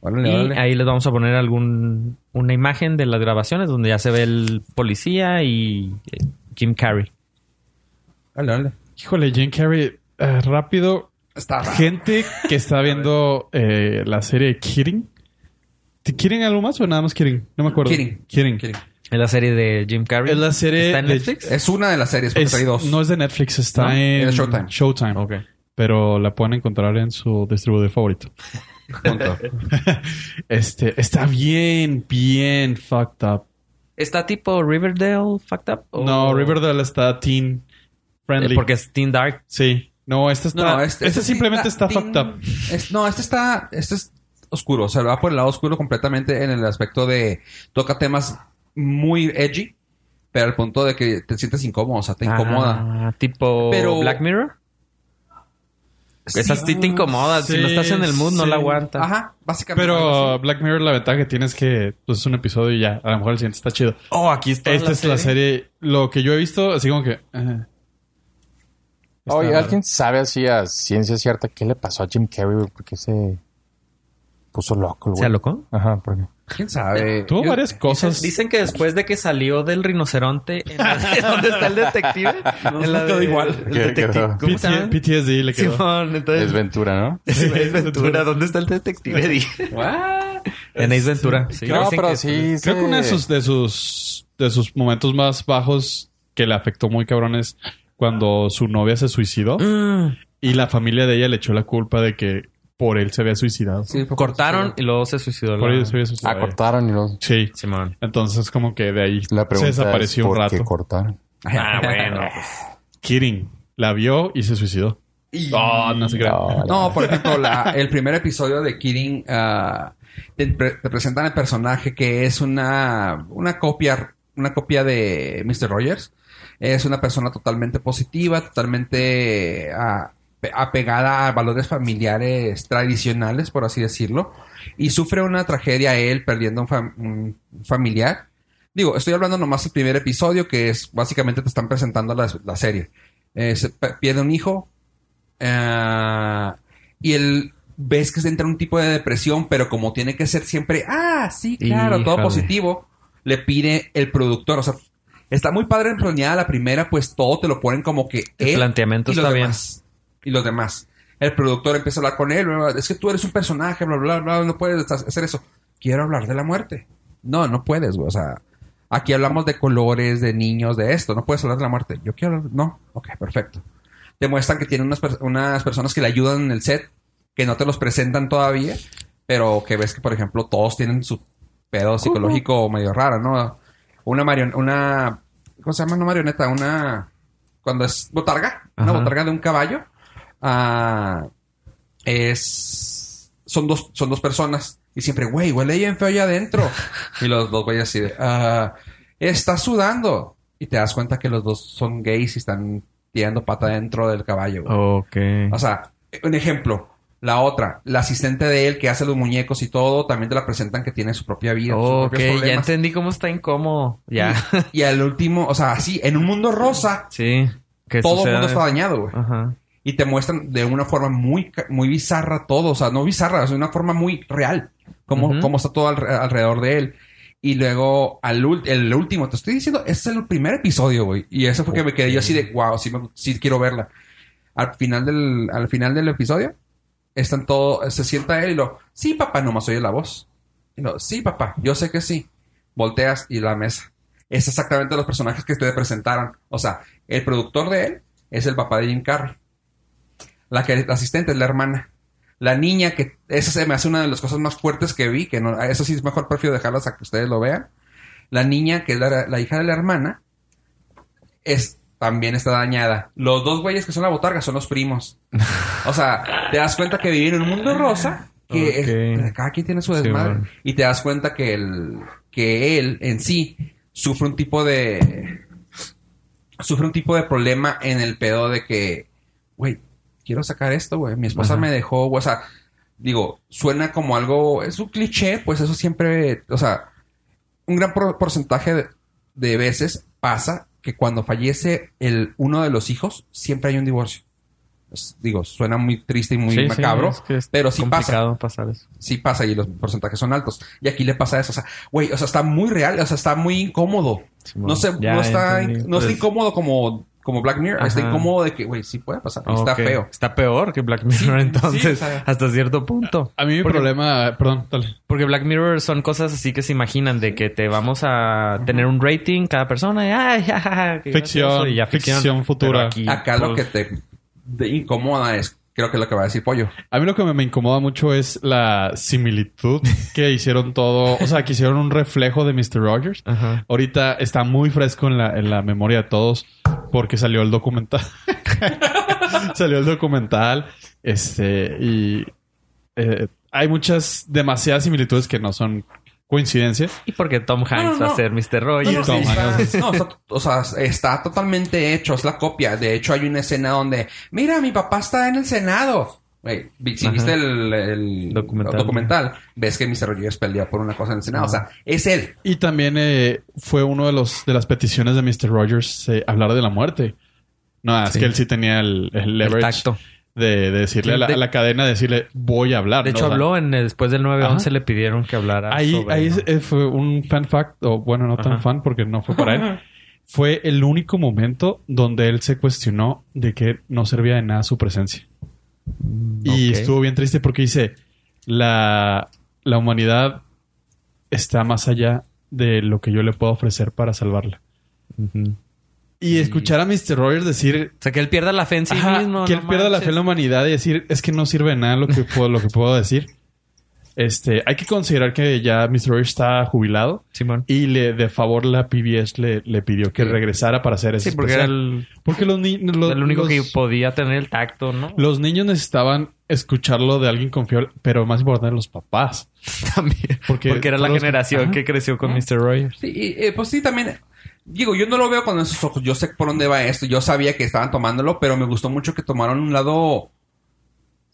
Órale,
y
órale.
ahí les vamos a poner algún una imagen de las grabaciones donde ya se ve el policía y eh, Jim Carrey.
Órale, órale.
Híjole, Jim Carrey, eh, rápido.
Está raro.
Gente que está viendo eh, la serie Kidding. ¿Te quieren algo más o nada más Kidding? No me acuerdo.
Kidding.
Kidding.
Kidding.
Es la serie de Jim Carrey.
Es la serie
¿Está en
de-
Netflix?
Es una de las series, porque
Es-
hay dos.
no es de Netflix, está
No,
en
es de Showtime.
Showtime. Pero la pueden encontrar en su distribuidor favorito.
Punto.
Este, está bien, bien fucked up.
¿Está tipo Riverdale fucked up? o-
No, Riverdale está teen
Eh,
friendly.
porque es Teen Dark.
Sí. No, esta está...
No,
este, simplemente está
tin-
fucked up.
es- no, este está... Este es oscuro. O sea, va por el lado oscuro completamente en el aspecto de... Toca temas muy edgy, pero al punto de que te sientes incómodo. O sea, te incomoda.
Ah, tipo
Pero-
Black Mirror.
Sí.
Esas sí te incomodan. si
Sí,
no estás en el mood, no
sí.
la aguantas.
Ajá, básicamente. algo
Pero
así.
Black Mirror la ventaja que tiene es que pues, es un episodio y ya. A lo mejor el siguiente está chido.
Oh, aquí está.
Esta es la serie... Lo que yo he visto, así como que... eh, está-
Oye, ¿alguien sabe así a ciencia cierta qué le pasó a Jim Carrey? güey? ¿Por qué se puso loco, el güey?
¿Se alocó?
Ajá, porque...
¿Quién sabe?
Tuvo
Yo-
varias cosas.
Dicen que después de que salió del rinoceronte, en la de- ¿dónde está el detective? En la
quedó
de-
igual.
el
¿Qué
detective-
quedó?
¿Cómo se llama?
PT- PTSD le quedó.
Simón, entonces.
Es Ventura, ¿no?
Ace Ventura, ¿dónde está el detective? Dije. en Ace Ventura. sí.
no,
Dicen
pero
que-
sí.
Creo
se-
que uno de sus, de sus de sus momentos más bajos que le afectó muy cabrón es cuando su novia se suicidó
Mm,
y la familia de ella le echó la culpa de que por él se había suicidado.
Sí, fue-
cortaron y luego se suicidó.
Por
la-
él se había suicidado.
Ah, cortaron y los...
Sí.
Simón.
Entonces como que de ahí
La
se
pregunta
desapareció
es,
un
¿por
rato.
qué cortaron?
Ah, bueno.
Kirin la vio y se suicidó.
Oh,
Ah, no se crea.
No, por ejemplo, la- el primer episodio de Kidding ah, te, pre- te presentan el personaje que es una, una copia, una copia de Mr. Rogers. Es una persona totalmente positiva, totalmente ah, pe- apegada a valores familiares tradicionales, por así decirlo. Y sufre una tragedia él perdiendo un, fam- un familiar. Digo, estoy hablando nomás del primer episodio, que es básicamente te están presentando la, la serie. Eh, se pe- pierde un hijo, Ah, y él ves que se entra en un tipo de depresión, pero como tiene que ser siempre, ah, sí, claro, todo
Híjole.
positivo, le pide el productor. O sea, está muy padre planeada la primera, pues todo te lo ponen como que
El planteamiento
y los
está bien.
demás. Y los demás. El productor empieza a hablar con él, bla, bla, es que tú eres un personaje, bla, bla, bla, no puedes hacer eso. Quiero hablar de la muerte. No, no puedes, güey. O sea, aquí hablamos de colores, de niños, de esto. No puedes hablar de la muerte. Yo quiero hablar... No, ok, perfecto demuestran que tiene unas, per- unas personas que le ayudan en el set, que no te los presentan todavía, pero que ves que, por ejemplo, todos tienen su pedo psicológico medio raro, ¿no? Una marioneta, una... ¿Cómo se llama? No marioneta, una... Cuando es botarga,
Ajá.
una botarga de un caballo, ah, es... Son dos, son dos personas. Y siempre, güey, huele bien feo allá adentro. y los dos güeyes así de... "Ah, está sudando. Y te das cuenta que los dos son gays y están tirando pata dentro del caballo. güey.
Ok.
O sea, un ejemplo. La otra, la asistente de él que hace los muñecos y todo, también te la presentan que tiene su propia vida. sus
Ok,
propios
ya
problemas.
entendí cómo está incómodo. Ya.
Y al último, o sea, así, en un mundo rosa,
Sí. Que
todo el
suceda-
mundo está dañado, güey.
Ajá.
y te muestran de una forma muy, ca- muy bizarra todo, o sea, no bizarra, es una forma muy real, cómo,
Ujú.
cómo está todo al- alrededor de él. Y luego, al ul- el último, te estoy diciendo, ese es el primer episodio, güey. Y eso fue que me quedé yo así de, wow, sí, me- sí quiero verla. Al final del, al final del episodio, están todo, se sienta él y lo, sí, papá, nomás oye la voz. Y lo, sí, papá, yo sé que sí. Volteas y la mesa. Es exactamente los personajes que te presentaron. O sea, el productor de él es el papá de Jim Carrey. La, que, la asistente es la hermana. La niña, que esa se me hace una de las cosas más fuertes que vi, que no, eso sí es mejor prefiero dejarlas a que ustedes lo vean. La niña, que es la, la hija de la hermana, es, también está dañada. Los dos güeyes que son la botarga son los primos. O sea, te das cuenta que viven en un mundo rosa, que es-
Ok.
cada quien tiene su
Sí,
desmadre.
bueno.
Y te das cuenta que, el, que él en sí sufre un tipo de. sufre un tipo de problema en el pedo de que, güey, quiero sacar esto, güey. Mi esposa me dejó, güey. O sea, digo, suena como algo. Es un cliché, pues eso siempre. O sea, un gran por- porcentaje de, de veces pasa que cuando fallece el, uno de los hijos, siempre hay un divorcio. Es- digo, suena muy triste y muy
Sí, sí,
macabro,
es que es
pero sí pasa
complicado pasar eso.
sí pasa y los porcentajes son altos. Y aquí le pasa eso. O sea, güey, o sea, está muy real, o sea, está muy incómodo.
Simón.
No sé,
Ya
no está,
entendí.
no está
Pues-
incómodo como, como Black Mirror, está
Ajá.
incómodo de que, güey, sí puede pasar, y está
Ok.
feo.
Está peor que Black Mirror,
sí,
entonces,
o sea-
hasta cierto punto.
A mí mi
Porque-
problema... Perdón, dale.
Porque Black Mirror son cosas así que se imaginan de que te vamos a tener un rating cada persona. y, ay, ja, ja, ja, que
Ficción,
gracioso, y ya
ficción futura.
Pero aquí,
Acá lo que
pues,
te te incomoda es, creo que es lo que va a decir Pollo.
A mí lo que me, me incomoda mucho es la similitud que hicieron todo... O sea, que hicieron un reflejo de Mr. Rogers.
Ajá.
Ahorita está muy fresco en la, en la memoria de todos porque salió el documental. salió el documental. Este, y eh, hay muchas, demasiadas similitudes que no son coincidencias.
Y porque Tom Hanks
no,
va
no.
a ser Mr. Rogers.
No, no,
Tom
sí, está-
Hanks.
no, está- o sea, está totalmente hecho, es la copia. De hecho, hay una escena donde, mira, mi papá está en el Senado. Güey, vi- si
Ajá.
viste el, el documental.
Documental.
ves que Mr. Rogers peleó por una cosa en el Senado. O sea, es él.
Y también eh, fue uno de los de las peticiones de Mr. Rogers eh, hablar de la muerte. No, es
Sí.
que él sí tenía el, el
El
leverage
tacto.
De, de decirle a la,
De-
a la cadena, decirle, voy a hablar.
De
¿no?
hecho,
O sea,
habló en el- después del 9-11.
Ajá.
Le pidieron que hablara.
Ahí,
sobre-
ahí eh, fue un fan fact, o bueno, no tan
Ajá.
fan porque no fue para él. Fue el único momento donde él se cuestionó de que no servía de nada su presencia. Y
ok.
estuvo bien triste porque dice, la, la humanidad está más allá de lo que yo le puedo ofrecer para salvarla.
Ujú.
Y escuchar a Mr. Rogers decir
O sea, que él pierda la fe en sí
Ajá,
mismo.
que
no
él pierda la fe en la
manches.
humanidad y decir, es que no sirve de nada lo que puedo, lo que puedo decir. Este, hay que considerar que ya Mr. Rogers está jubilado
Simón.
y le de favor la PBS le, le pidió que regresara para hacer ese
Sí, porque era
Pues especial.
el,
Porque los niños
el único que podía tener el tacto, ¿no?
los niños necesitaban escucharlo de alguien confiable, pero más importante los papás.
También.
Porque-
Porque, era la
fueron los-
generación
Ajá.
que creció con Mr. Rogers.
Sí, y, eh, pues sí, también. Digo, yo no lo veo con esos ojos. Yo sé por dónde va esto. Yo sabía que estaban tomándolo, pero me gustó mucho que tomaron un lado.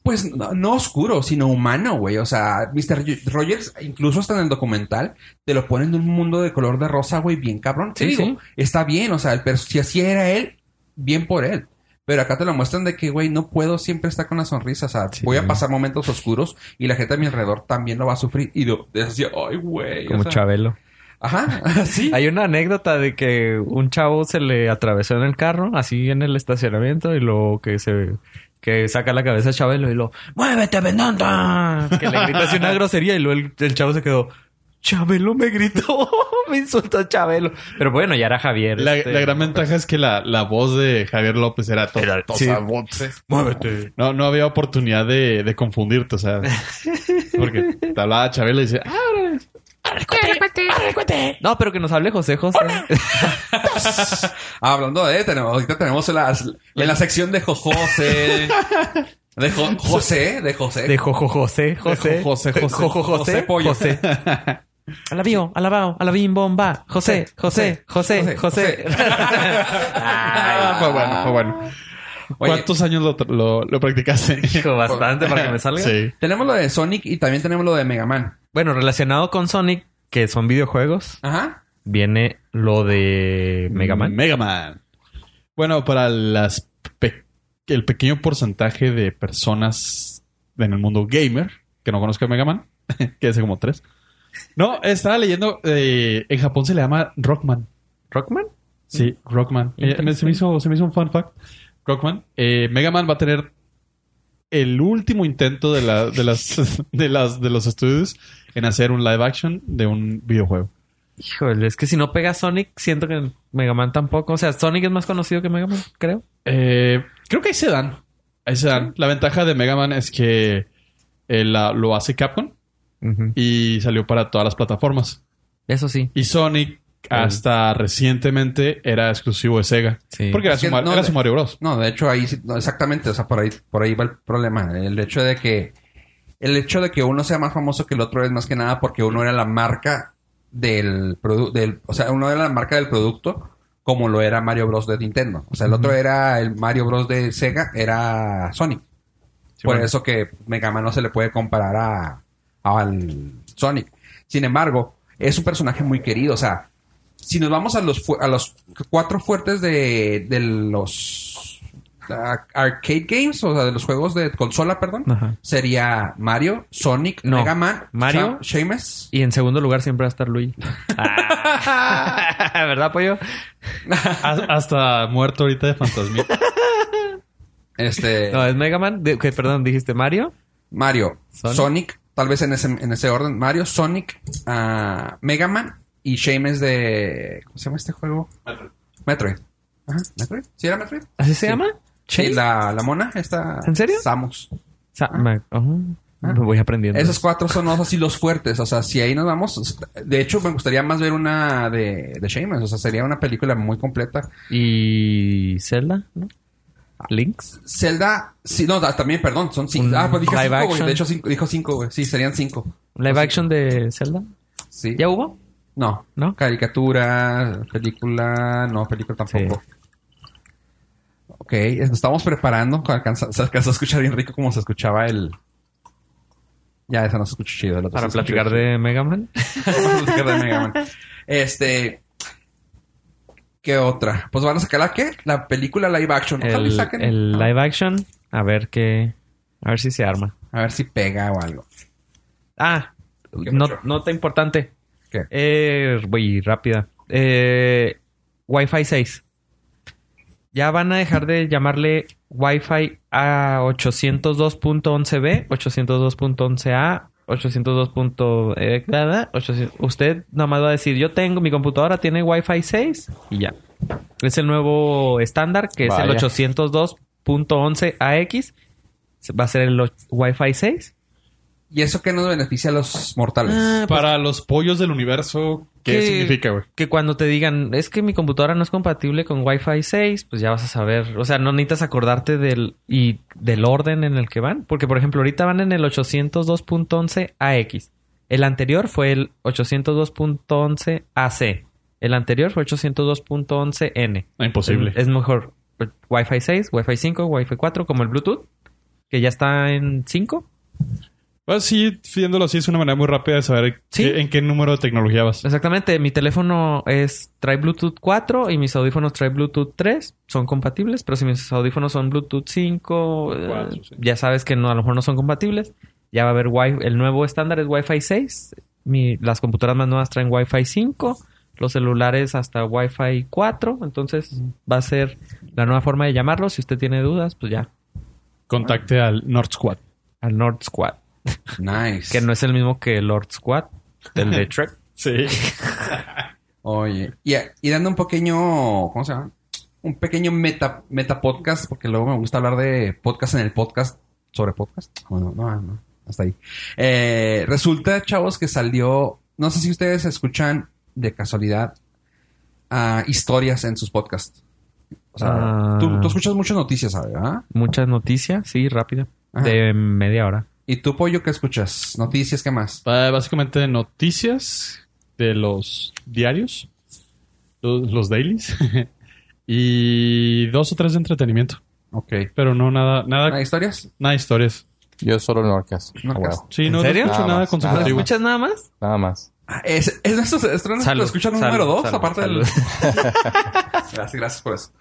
Pues no, no oscuro, sino humano, güey. O sea, Mr. Ro- Rogers, incluso hasta en el documental, te lo ponen en un mundo de color de rosa, güey, bien cabrón. Te
Sí,
digo,
sí.
está bien, o sea, el pers- si así era él, bien por él. Pero acá te lo muestran de que, güey, no puedo siempre estar con la sonrisa. O sea, voy a pasar momentos oscuros y la gente a mi alrededor también lo va a sufrir. Y yo, decía, ay, güey. o
Como
sea,
Chabelo.
Ajá, sí.
Hay una anécdota de que un chavo se le atravesó en el carro, así en el estacionamiento, y luego que se que saca la cabeza a Chabelo y lo ¡Muévete, venanda! Que le grita así una grosería y luego el, el chavo se quedó Chabelo me gritó, me insultó Chabelo. Pero bueno, ya era Javier.
La,
este,
la gran ventaja es que la, la voz de Javier López era todo.
sí.
Muévete. No, no había oportunidad de, de confundirte, o sea. Porque te hablaba Chabelo y decía, "Ah,
No, pero que nos hable José José.
Ah, Hablando de, tenemos, ahorita tenemos en la, en la sección de Jo- José. De Jo- José, de José.
De Jojo José, José.
Jo- José, José.
Jojo José,
José Pollo.
José. Alabío, alabao, alabim, bomba. José, José, José, José.
ah, fue bueno, fue bueno.
Oye,
¿Cuántos años lo, tra- lo, lo practicaste?
Dijo bastante para que me salga.
Sí.
Tenemos lo de Sonic y también tenemos lo de Mega Man.
Bueno, relacionado con Sonic, que son videojuegos,
Ajá.
viene lo de Mega Man.
Mega Man. Bueno, para las pe- el pequeño porcentaje de personas en el mundo gamer que no conozca a Mega Man, que hace como tres. No, estaba leyendo, eh, en Japón se le llama Rockman.
¿Rockman?
Sí, Rockman. Eh, me- se, me hizo, se me hizo un fun fact. Rockman. Eh, Mega Man va a tener el último intento de, la- de, las, de, las, de los estudios en hacer un live action de un videojuego.
Híjole, es que si no pega Sonic, siento que Mega Man tampoco. O sea, Sonic es más conocido que Mega Man, creo.
Eh, creo que ahí se dan. Ahí se dan. La ventaja de Mega Man es que eh, la- lo hace Capcom y salió para todas las plataformas.
Eso sí.
Y Sonic hasta recientemente era exclusivo de Sega.
Sí.
Porque era,
Es
su,
que
Mar-
no
era
le-
su Mario Bros.
No, de hecho ahí sí- no, exactamente, o sea, por ahí por ahí va el problema, el hecho de que el hecho de que uno sea más famoso que el otro es más que nada porque uno era la marca del producto, del, o sea, uno era la marca del producto como lo era Mario Bros de Nintendo. O sea, el otro era el Mario Bros de Sega, era Sonic. por
bueno.
eso que Mega Man no se le puede comparar a al Sonic. Sin embargo, es un personaje muy querido, o sea, si nos vamos a los, fu- a los cuatro fuertes de, de los ah, arcade games, o sea, de los juegos de consola, perdón,
Ajá.
sería Mario, Sonic,
No.
Mega Man,
Mario.
Sha- Seamus.
Y en segundo lugar siempre va a estar Luigi. Ah. ¿Verdad, Pollo?
Has- Hasta muerto ahorita de fantasmía.
Este,
No, es Mega Man. De- que, perdón, dijiste Mario.
Mario,
Sonic.
Sonic, tal vez en ese, en ese orden, Mario, Sonic, ah, Mega Man y Seamus de... ¿Cómo se llama este juego? Metroid. Ajá, Metroid. ¿Sí era Metroid?
¿Así se
Sí.
llama?
Sí,
¿Chase?
la, la mona está...
¿En serio?
Samus.
Sa- Ma- Ujú.
Ah.
oh, Voy aprendiendo.
Esos cuatro son los- así los fuertes. O sea, si ahí nos vamos. De hecho, me gustaría más ver una de, de Seamus. O sea, sería una película muy completa.
Y Zelda, ¿no?
Ah.
Links.
Zelda. Sí, no, da- también, perdón. Son
Un
cinco. Ah, pues dije
live
cinco, güey.
action.
De hecho, cinco- dijo cinco, güey. Sí, serían cinco.
Live action de Zelda.
Sí.
¿Ya hubo?
No.
¿No?
Caricatura, película. No, película tampoco. Ok, es- nos estamos preparando. Alcanza- se alcanzó a escuchar bien rico como se escuchaba el. Ya, esa no se escucha chido. la otra
Para
se escucha
platicar
chido.
de Mega Man.
Vamos a platicar de Mega Man. Este. ¿Qué otra? Pues van a sacar la qué? La película live action. Ojalá y
El,
saquen.
el live action. A ver qué. A ver si se arma.
A ver si pega o algo.
Ah,
¿Qué
no,
pasó?
nota importante.
¿Qué?
Eh, güey, rápida. Eh, Wi-Fi 6. Ya van a dejar de llamarle Wi-Fi a 802.11b, 802.11a, 802. eh, nada, 800 Usted nada más va a decir, yo tengo, mi computadora tiene Wi-Fi 6 y ya. Es el nuevo estándar que
Vaya.
es el 802.11ax. Va a ser el och- Wi-Fi 6.
¿Y eso qué nos beneficia a los mortales?
Ah, pues,
Para los pollos del universo, ¿qué,
¿Qué?
significa, güey?
que cuando te digan, es que mi computadora no es compatible con Wi-Fi 6, pues ya vas a saber. O sea, no necesitas acordarte del, y del orden en el que van. Porque, por ejemplo, ahorita van en el 802.11ax. El anterior fue el 802.11ac. El anterior fue 802.11n.
Ah, Imposible.
Es mejor pues, Wi-Fi 6, Wi-Fi 5, Wi-Fi 4, como el Bluetooth, que ya está en 5.
Pues sí, viéndolo así es una manera muy rápida de saber
Sí. Ah.
qué- en qué número de tecnología vas.
Exactamente, mi teléfono es trae Bluetooth 4 y mis audífonos trae Bluetooth 3, son compatibles, pero si mis audífonos son Bluetooth 5, eh,
Cuatro, sí.
ya sabes que no a lo mejor no son compatibles. Ya va a haber wi el nuevo estándar es Wi-Fi 6. Mi- las computadoras más nuevas traen Wi-Fi 5, los celulares hasta Wi-Fi 4, entonces va a ser la nueva forma de llamarlo. Si usted tiene dudas, pues ya
Contacte al North Squad.
al Nord Squad,
Nice.
que no es el mismo que el Lord Squad, el de Trek.
Sí.
Oye. Y, y dando un pequeño. ¿Cómo se llama? Un pequeño meta, meta podcast, porque luego me gusta hablar de podcast en el podcast sobre podcast. Bueno, no, no, hasta ahí. Eh, resulta, chavos, que salió. No sé si ustedes escuchan de casualidad ah, historias en sus podcasts. O sea,
Ah.
tú, tú escuchas muchas noticias, ¿sabes? ¿Ah?
Muchas noticias, sí, rápida,
Ajá.
de media hora.
¿Y tú, pollo, qué escuchas? Noticias, ¿qué más?
Ah, Básicamente noticias de los diarios, los, los dailies, y dos o tres de entretenimiento.
Ok.
Pero no nada,
¿Ah,
nada,
historias?
nada de historias.
Yo solo Norcas.
Norcas.
Sí,
¿En
no, no
serio?
Nada
escucho nada
más,
¿No
nada
concentrativo.
escuchas nada más?
Nada más.
Ah, Es, es de estos estrenos que
Salud,
lo escuchan
salud,
número dos,
salud,
aparte del...
salud.
gracias, gracias por eso.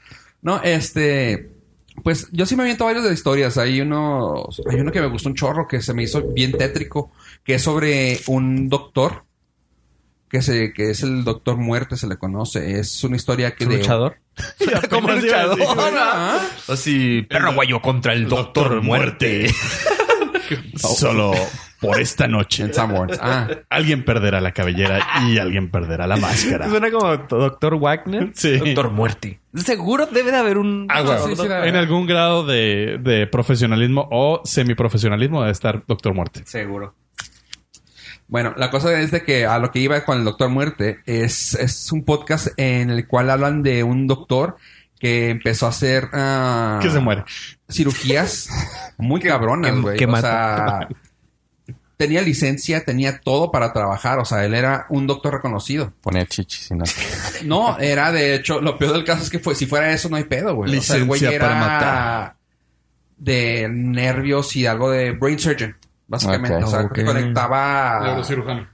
No, este... Pues yo sí me aviento varios de historias. Hay uno, hay uno que me gustó un chorro que se me hizo bien tétrico, que es sobre un doctor, que se, que es el doctor muerte, se le conoce. Es una historia que de
luchador.
Como
Apenas iba a decir,
luchador,
Ah,
Así, perro guayo contra el doctor muerte. Solo por esta noche.
En Sanborns. Ah,
Alguien perderá la cabellera y alguien perderá la máscara.
Suena como Doctor Wagner.
Sí.
Doctor Muerte. Seguro debe de haber un.
Ah, güey.
sí, sí, la-
En algún grado de, de profesionalismo o semiprofesionalismo debe estar Doctor Muerte.
Seguro. Bueno, la cosa es de que a lo que iba con el Doctor Muerte es, es un podcast en el cual hablan de un doctor que empezó a hacer ah,
Que se muere.
cirugías muy cabronas,
que-
güey.
que
o sea, tenía licencia, tenía todo para trabajar. O sea, él era un doctor reconocido.
Ponía chichis y no.
No, era de hecho, lo peor del caso es que fue, si fuera eso, no hay pedo, güey. O sea, el güey
Licencia
era
para matar.
de nervios y algo de brain surgeon, básicamente.
Ok.
o sea, que
Ok.
conectaba.
Neurocirujano.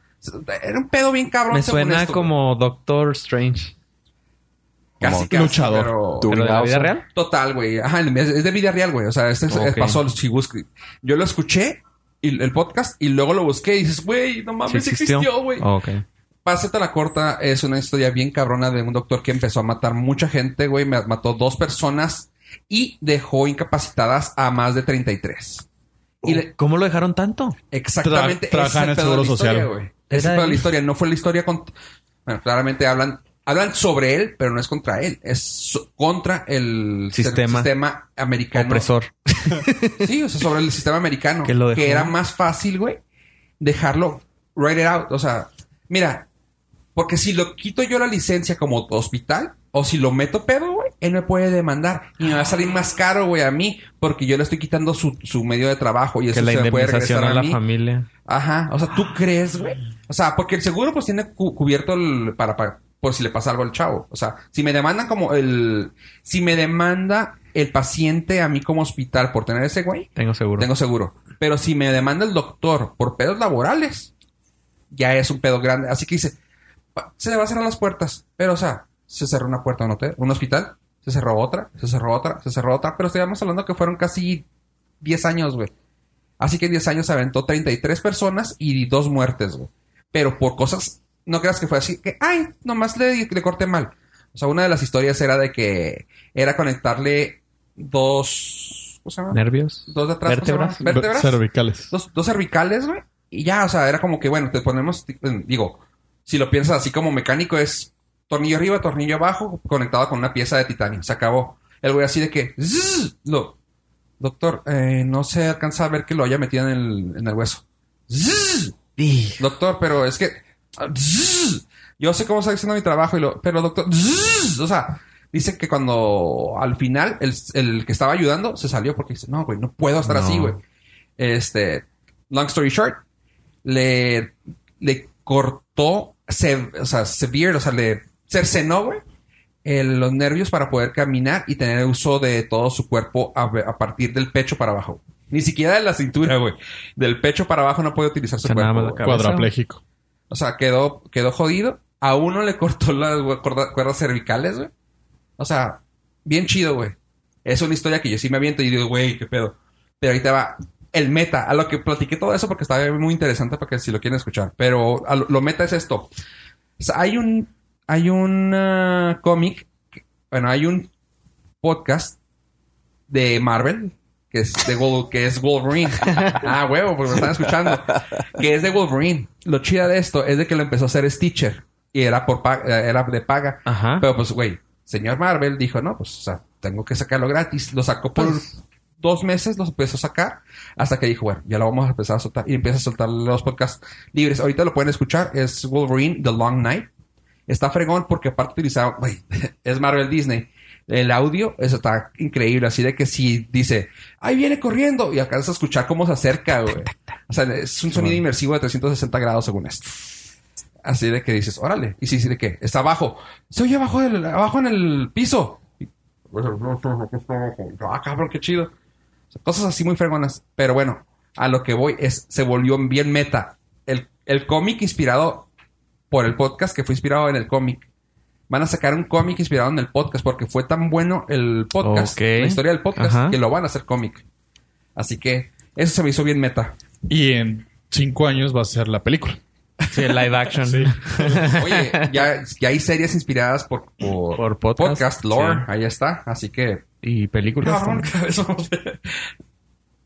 Era un pedo bien cabrón.
Me
según
suena
esto,
como Doctor Strange.
güey. casi,
como
casi,
luchador.
pero-
Tú.
¿Pero de la vida real?
Total, güey. Ajá, es es de vida real, güey. O sea, este es-
Ok.
pasó el Chibusky. Yo lo escuché, y, el podcast, y luego lo busqué y dices, güey, no mames,
¿Sí
existió, güey.
Oh, ok.
Pásate la corta es una historia bien cabrona de un doctor que empezó a matar mucha gente, güey. Ma- Mató dos personas y dejó incapacitadas a más de 33. Y le-
¿Cómo lo dejaron tanto?
exactamente
Tra- trabaja en el
pedo de la
Seguro
historia,
Social.
güey. Ese
Era
pedo de
él.
la historia. No fue la historia con... Bueno, claramente hablan... Hablan sobre él, pero no es contra él. Es so- contra el ser-
Sistema.
sistema americano.
Opresor.
Sí, o sea, sobre el sistema americano.
Que lo dejó.
era más fácil, güey, dejarlo write it out. O sea, mira, porque si lo quito yo la licencia como hospital, o si lo meto pedo, güey, él me puede demandar. Y me va a salir más caro, güey, a mí, porque yo le estoy quitando su, su medio de trabajo y eso
Que la
se me puede regresar
indemnización
a,
a la
mí.
familia.
Ajá. O sea, ¿tú crees, güey? O sea, porque el seguro pues tiene cu- cubierto el, para, para- por si le pasa algo al chavo. O sea, si me demandan como el... Si me demanda el paciente a mí como hospital por tener ese güey,
Tengo seguro.
tengo seguro. Pero si me demanda el doctor por pedos laborales, ya es un pedo grande. Así que dice, pa- se le va a cerrar las puertas. Pero, o sea, se cerró una puerta a un hotel, un hospital, se cerró otra, se cerró otra, se cerró otra. Pero estábamos hablando que fueron casi 10 años, güey. Así que en 10 años se aventó 33 personas y dos muertes, güey. Pero por cosas, no creas que fue así, que, ay, nomás le, le corté mal. O sea, una de las historias era de que era conectarle dos... ¿Cómo se llama?
¿Nervios?
dos de atrás, ¿cómo se
Vértebras.
llama? vértebras,
Cervicales.
dos, dos cervicales, güey, y ya, o sea, era como que, bueno, te ponemos, ti- eh, digo, si lo piensas así como mecánico, es tornillo arriba, tornillo abajo, conectado con una pieza de titanio, se acabó. El güey así de que, zzz, lo, doctor, eh, no se alcanza a ver que lo haya metido en el, en el hueso. Zzz, doctor, pero es que, ah, zzz, yo sé cómo está haciendo mi trabajo, y lo, pero doctor, zzz, o sea, Dice que cuando al final el, el que estaba ayudando se salió porque dice, no, güey, no puedo estar así, güey. Este, long story short, le, le cortó, se, o sea, severe, o sea, le cercenó, güey, el- los nervios para poder caminar y tener uso de todo su cuerpo a, ve- a partir del pecho para abajo. Ni siquiera de la cintura, güey. Del pecho para abajo no puede utilizar su
O sea, nada
cuerpo.
más la
güey.
cabeza.
Cuadrapléjico.
O sea, quedó, quedó jodido. A uno le cortó las güey, cuerda- cuerdas cervicales, güey. O sea, bien chido, güey. Es una historia que yo sí me aviento y digo, güey, qué pedo. Pero ahorita va el meta, a lo que platiqué todo eso porque está muy interesante para que si lo quieren escuchar. Pero a lo, lo meta es esto. O sea, hay un, hay un ah, cómic, que- bueno, hay un podcast de Marvel que es de Wol- que es Wolverine. ah, huevo, porque me están escuchando. Que es de Wolverine. Lo chida de esto es de que lo empezó a hacer Stitcher y era por pa- era de paga.
Ajá.
Pero pues, güey, señor Marvel dijo, no, pues, o sea, tengo que sacarlo gratis. Lo sacó por dos meses, los empezó a sacar, hasta que dijo, bueno, ya lo vamos a empezar a soltar. Y empieza a soltar los podcasts libres. Ahorita lo pueden escuchar, es Wolverine, The Long Night. Está fregón porque aparte utilizaba, güey, es Marvel Disney. El audio, eso está increíble. Así de que si dice, ahí viene corriendo, y alcanzas a escuchar cómo se acerca, güey. O sea, es un sonido inmersivo de 360 grados según esto. Así de que dices, órale. Y si de que está abajo, se oye abajo, del, abajo en el piso. Y- pues, Ah, cabrón, qué chido. O sea, cosas así muy fregonas. Pero bueno, a lo que voy es, se volvió bien meta. El, el cómic inspirado por el podcast que fue inspirado en el cómic. van a sacar un cómic inspirado en el podcast porque fue tan bueno el podcast,
Ok.
la historia del podcast,
Ajá.
que lo van a hacer cómic. Así que eso se me hizo bien meta.
Y en cinco años va a ser la película.
Sí, el live action.
Oye, ya, ya hay series inspiradas por, por,
Por podcast,
lore,
sí.
ahí está. Así que pues,
Y películas.
Cabrón,
también.
cabezón.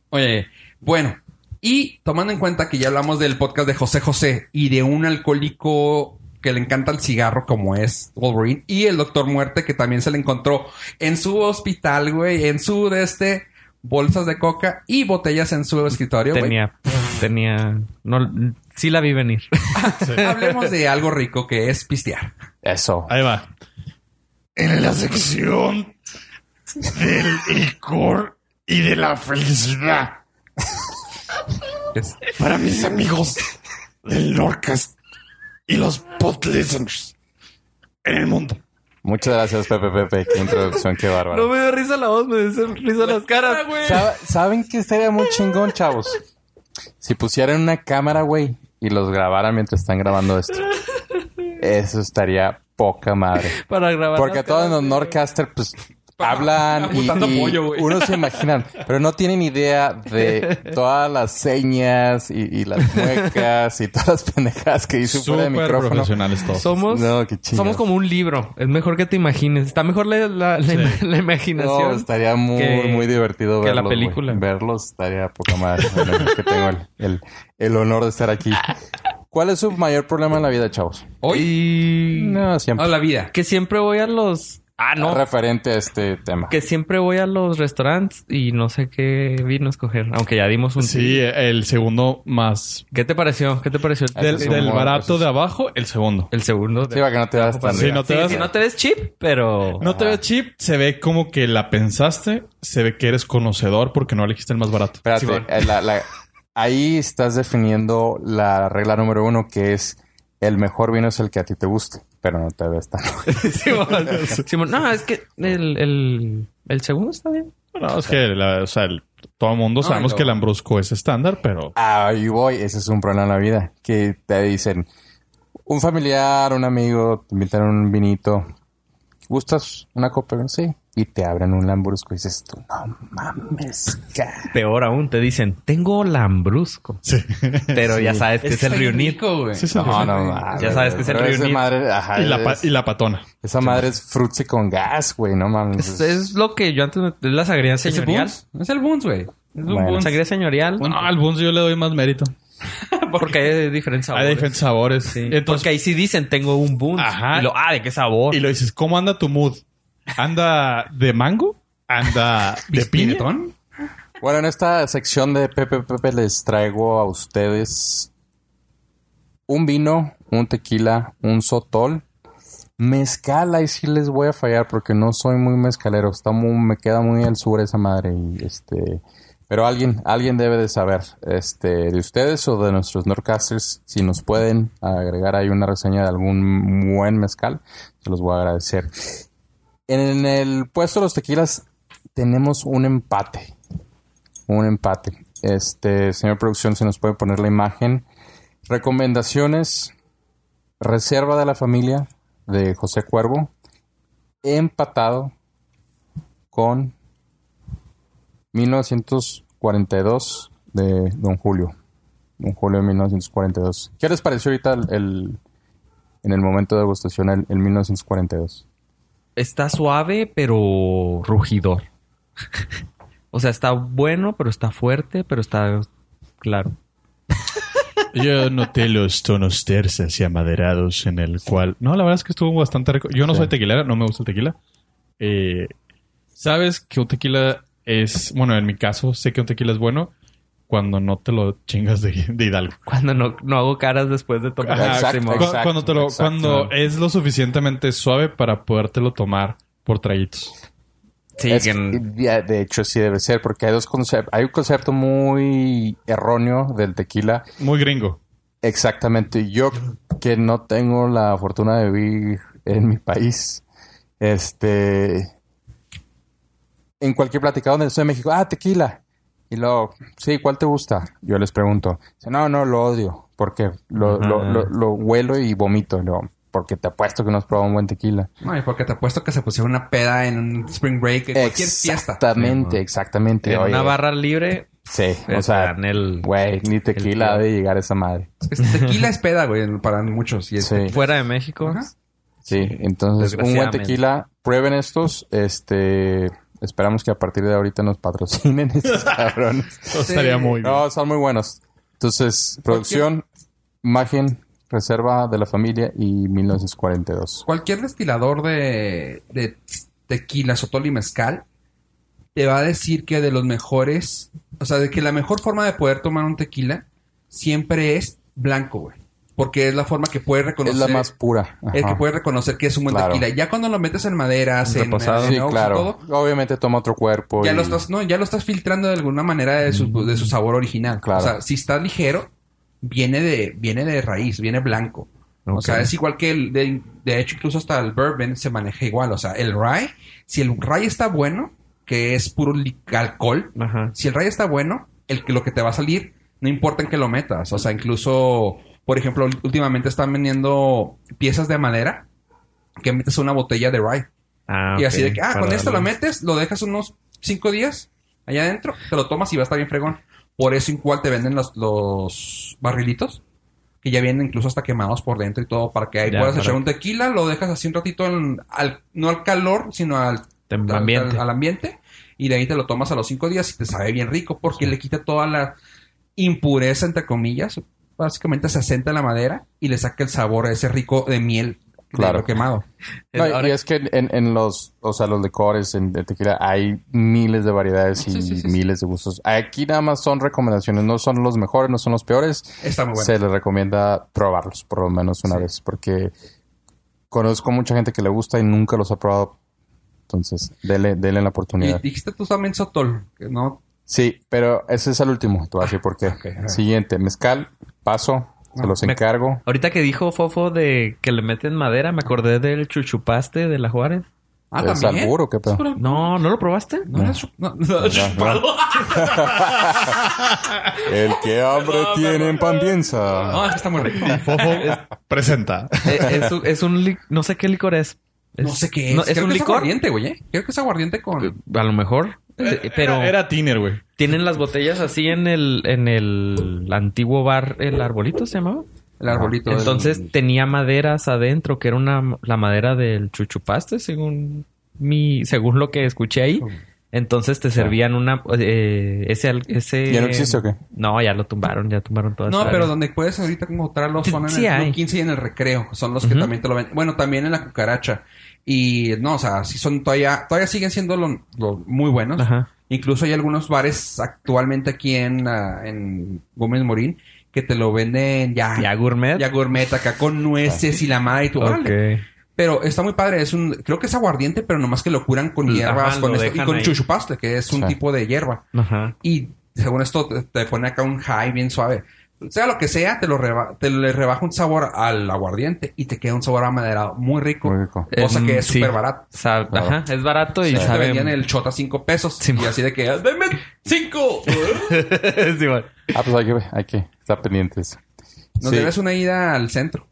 Oye, bueno. Y tomando en cuenta que ya hablamos del podcast de José José y de un alcohólico que le encanta el cigarro como es Wolverine y el Doctor Muerte que también se le encontró en su hospital, güey, en su de este bolsas de coca y botellas en su escritorio, güey.
Tenía, tenía, no, sí la vi venir.
Hablemos de algo rico que es pistear.
Eso.
Ahí va.
En la sección del licor y de la felicidad.
Es-
Para mis amigos del Lorcast y los pod listeners en el mundo.
Muchas gracias, Pepe Pepe. Qué introducción, qué bárbaro.
me dio risa la voz, me dio risa las caras.
Sab- ¿Saben que estaría muy chingón, chavos? Si pusieran una cámara, güey, y los grabaran mientras están grabando esto. Eso estaría poca madre.
Para grabar.
Porque a
las
todos
caras
los
de-
Nordcaster, pues, hablan y,
apuntando
y
pollo, güey.
uno se imaginan, pero no tienen idea de todas las señas y, y las muecas y todas las pendejadas que dicen fuera de
Súper
micrófono.
profesionales todos.
Somos,
No, qué chingados.
somos como un libro. Es mejor que te imagines. Está mejor la, la- la- la imaginación.
No, estaría muy,
que-
muy divertido
que la
verlos. güey.
película.
Verlos estaría poca madre. Bueno, que tengo el, el- el honor de estar aquí. ¿Cuál es su mayor problema en la vida, chavos?
Hoy,
Y
No,
no,
siempre.
la vida.
que siempre voy a los. Ah, Mm. no.
Referente a este tema.
Que siempre voy a los restaurantes y no sé qué vino escoger. Aunque ya dimos un.
Sí, el segundo más.
¿Qué te pareció? ¿Qué te pareció? el-
Del,
Ah, es
del
humor,
barato
pues,
de abajo, el segundo.
El segundo.
Sí, para que no te das tan...
Sí, no te
Sí,
das-
sí, no te ves chip, pero.
No
Ah.
te ve chip, se ve como que la pensaste, se ve que eres conocedor porque no elegiste el más barato.
Espérate,
Simón.
eh, la- la- ahí estás definiendo la regla número uno, que es el mejor vino es el que a ti te guste, pero no te ves tan...
Simón. Simón, no, es que el, el, el segundo está bien.
No, es que la- o sea, el- todo el mundo
No,
sabemos
no.
que el Ambrusco es estándar, pero
Ahí voy, ese es un problema en la vida, que te dicen, un familiar, un amigo, te invitan a un vinito, ¿gustas una copa? No sé. Y te abren un lambrusco y dices tú, no mames, ca-".
Peor aún, te dicen, tengo lambrusco. Pero ya sabes que es, el
Está bien
reunir.
rico, güey.
Sí, sí.
No, no mames.
Ya sabes que es el
Pero esa
reunir.
madre, ajá,
y la, pa-
es-
y la patona.
esa madre es frutzi con gas, güey, no mames.
Es, es lo que yo antes... me- Es la sangría
¿Es el
señorial.
Boons? Es el Boons, güey. Es un
Bueno.
Boons.
Sangría señorial.
No, al Bunz yo le doy más mérito.
Porque hay diferentes sabores.
Hay diferentes sabores.
Sí.
Entonces,
Porque ahí sí dicen, tengo un boom.
Ajá.
Y lo, ah, ¿de qué sabor?
y lo dices, ¿cómo anda tu mood? ¿Anda de mango? ¿Anda de piña?
¿Pinetón?
Bueno, en esta sección de Pepe Pepe les traigo a ustedes un vino, un tequila, un sotol, mezcal. Ahí sí les voy a fallar porque no soy muy mezcalero. Está muy, me queda muy al sur esa madre. Y este, pero alguien, alguien debe de saber, este, de ustedes o de nuestros Norcasters, si nos pueden agregar ahí una reseña de algún buen mezcal, se los voy a agradecer. En el puesto de los tequilas tenemos un empate un empate. Este, señor producción, se nos puede poner la imagen. Recomendaciones: Reserva de la familia de José Cuervo, empatado con 1942 de Don Julio. Don Julio de 1942. ¿Qué les pareció ahorita el, el- en el momento de degustación el, el 1942?
Está suave, pero rugidor. o sea, está bueno, pero está fuerte, pero está... Claro.
Yo noté los tonos tersas y amaderados en el cual... No, la verdad es que estuvo bastante rico. Yo no soy tequilera, no me gusta el tequila. Eh, Sabes que un tequila es... Bueno, en mi caso, sé que un tequila es bueno cuando no te lo chingas de, de hidalgo.
Cuando no, no hago caras después de tomar.
Ajá,
Exacto,
cu-
Simón.
exacto,
cuando te lo,
exacto.
cuando es lo suficientemente suave para podértelo tomar por traguitos.
Sí,
Es-
que en-
de de hecho, sí debe ser, porque hay dos conceptos. Hay un concepto muy erróneo del tequila
Muy gringo.
Exactamente. Yo que no tengo la fortuna de vivir en mi país, este, en cualquier platicado donde estoy en México, ah, tequila. Y luego, sí, ¿cuál te gusta? Yo les pregunto. Dice, no, no, lo odio. porque Lo, lo, lo, lo huelo y vomito. Y luego, porque te apuesto que no has probado un buen tequila.
No, y porque te apuesto que se pusieron una peda en un spring break, en cualquier fiesta.
Exactamente, exactamente.
En
Oye,
una barra Este, libre,
Sí, o
o
sea,
el,
güey, ni tequila ha de llegar a esa madre.
Es que Tequila es peda, güey, para muchos. Y es-
Sí.
fuera de México.
Ajá.
Sí, entonces un buen
Desgraciadamente.
tequila, prueben estos, este, esperamos que a partir de ahorita nos patrocinen estos cabrones.
Estaría muy bien.
No, son muy buenos. Entonces, producción, imagen, reserva de la familia y 1942.
Cualquier destilador de, de tequila, sotol y mezcal te va a decir que de los mejores, o sea, de que la mejor forma de poder tomar un tequila siempre es blanco, güey. Porque es la forma que puede reconocer.
Es la más pura.
el que
Ajá.
puede reconocer que es un buen
Claro.
tequila. Ya cuando lo metes en maderas, en,
Reposado.
en
Sí,
oxo y
claro.
todo,
Obviamente toma otro cuerpo.
ya
y-
lo estás, no, ya lo estás filtrando de alguna manera de su, de su sabor original.
Claro.
O sea, si está ligero, viene de, viene de raíz, viene blanco. O
Ok.
sea, es igual que el, de, de hecho, incluso hasta el bourbon se maneja igual. O sea, el rye, si el rye está bueno, que es puro li- alcohol,
Ajá.
si el rye está bueno, el que lo que te va a salir, no importa en qué lo metas. O sea, incluso, por ejemplo, últimamente están vendiendo piezas de madera que metes a una botella de rye.
Ah,
Y así
ok.
de que, ah,
Para
con esto lo
darle-
metes, lo dejas unos cinco días allá adentro, te lo tomas y va a estar bien fregón. Por eso igual te venden los, los barrilitos, que ya vienen incluso hasta quemados por dentro y todo, para que ahí
Ya,
puedas
para
echar un tequila, lo dejas así un ratito, en- al, no al calor, sino al
Tem-
al-
ambiente.
al- al ambiente, y de ahí te lo tomas a los cinco días y te sabe bien rico porque le quita toda la impureza, entre comillas, básicamente se asenta en la madera y le saca el sabor a ese rico de miel. de
Claro.
lo quemado.
No, y-
Ahora-
y es que en, en los, o sea, los licores en, de tequila hay miles de variedades y
Sí, sí, sí, sí.
miles de gustos. Aquí nada más son recomendaciones, no son los mejores, no son los peores.
Está muy Ah, bueno.
Se les recomienda probarlos por lo menos una vez, porque conozco mucha gente que le gusta y nunca los ha probado. Entonces, dele, dele
Y
la oportunidad.
dijiste tú también Sotol, que no.
Sí, pero ese es el último, te voy a decir por qué. Siguiente, mezcal, paso,
Ah,
se los
me-
encargo.
Ahorita que dijo Fofo de que le meten madera, me acordé del chuchupaste de la Juárez.
Ah,
¿Es
también.
albur o qué pedo?
Es pura-
No, ¿no lo probaste?
No, era chu- no, no, chupado.
El que hambre tiene en pan piensa.
No, es que está muy rico.
Fofo presenta.
Eh, es, un- es un li- no sé qué licor es. Es-
No sé qué es.
no, es
Creo
un
que
licor.
aguardiente, güey. ¿eh? Creo que es aguardiente con.
a lo mejor, eh, pero
Era, era tiner, güey.
tienen las botellas así en el en el antiguo bar el arbolito se llamaba.
El arbolito. del-
Entonces tenía maderas adentro que era una la madera del chuchupaste según mi según lo que escuché ahí. Entonces te servían una eh, ese al- ese
¿Ya no existe o qué?
No, ya lo tumbaron, ya tumbaron todas.
No,
esas
pero
áreas.
donde puedes ahorita encontrarlos son en
pues, Sí
el Club
hay.
15 y en el recreo. Son los que también te lo venden. Bueno, también en la cucaracha. Y no, o sea, sí son todavía, todavía siguen siendo lo- lo muy buenos.
Ajá.
Incluso hay algunos bares actualmente aquí en, ah, en Gómez Morín que te lo venden ya.
Ya gourmet.
Ya gourmet acá con nueces y la madre y tu
Ok.
órale. Pero está muy padre, es un, creo que es aguardiente, pero nomás que lo curan con
Ajá,
hierbas,
lo
con esto, y
dejan
con
ahí.
chuchupaste, que es un
Sí.
tipo de hierba.
Ajá.
Y según esto te, te pone acá un high bien suave. Sea lo que sea, te lo reba- te le rebaja un sabor al aguardiente y te queda un sabor amaderado muy rico.
Muy rico.
Cosa
Em,
que es
sí.
súper barato.
Sa- Ajá, es barato y
Y te
sabe.
vendían el shot a 5 pesos.
Sí,
y
mo-
así de que, ¡deme 5!
Sí, bueno.
Ah, pues hay que, hay que estar pendientes.
Nos
Sí.
debes una ida al centro.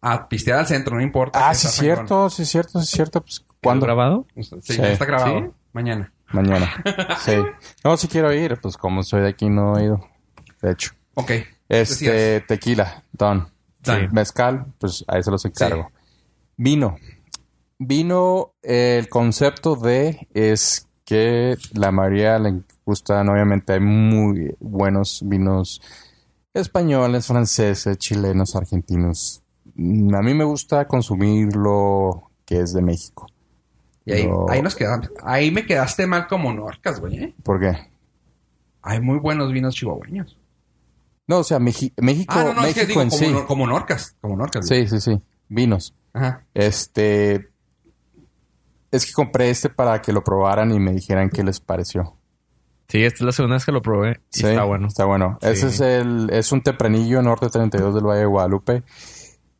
A pistear al centro, no importa.
Ah,
que
sí,
está fregón.
cierto, sí, cierto, sí, cierto. Pues, ¿Cuándo?
grabado?
Sí,
Sí.
ya está grabado.
¿Sí?
Mañana.
Mañana. Sí. No, si quiero ir, pues como soy de aquí, no he ido. De hecho.
Ok.
Este,
Decías.
tequila, don.
Done.
Mezcal, pues ahí se los encargo. Vino. Vino, eh, el concepto de es que la mayoría le gustan, obviamente hay muy buenos vinos españoles, franceses, chilenos, argentinos. Mm, A mí me gusta consumir lo que es de México.
Y ahí,
No.
ahí nos quedamos. Ahí me quedaste mal como norcas, güey. ¿eh?
¿Por qué?
Hay muy buenos vinos chihuahueños.
No, o sea, Meji- México,
Ah, no, no, es
México
que digo,
en
como,
sí.
nor- como norcas. Como norcas. güey.
Sí, sí, sí. Vinos.
Ajá.
Este. Es que compré este para que lo probaran y me dijeran qué les pareció.
Sí, esta es la segunda vez que lo probé. Y
Sí,
está bueno.
Está bueno.
Sí.
Ese es el. Es un tempranillo norte 32 del Valle de Guadalupe.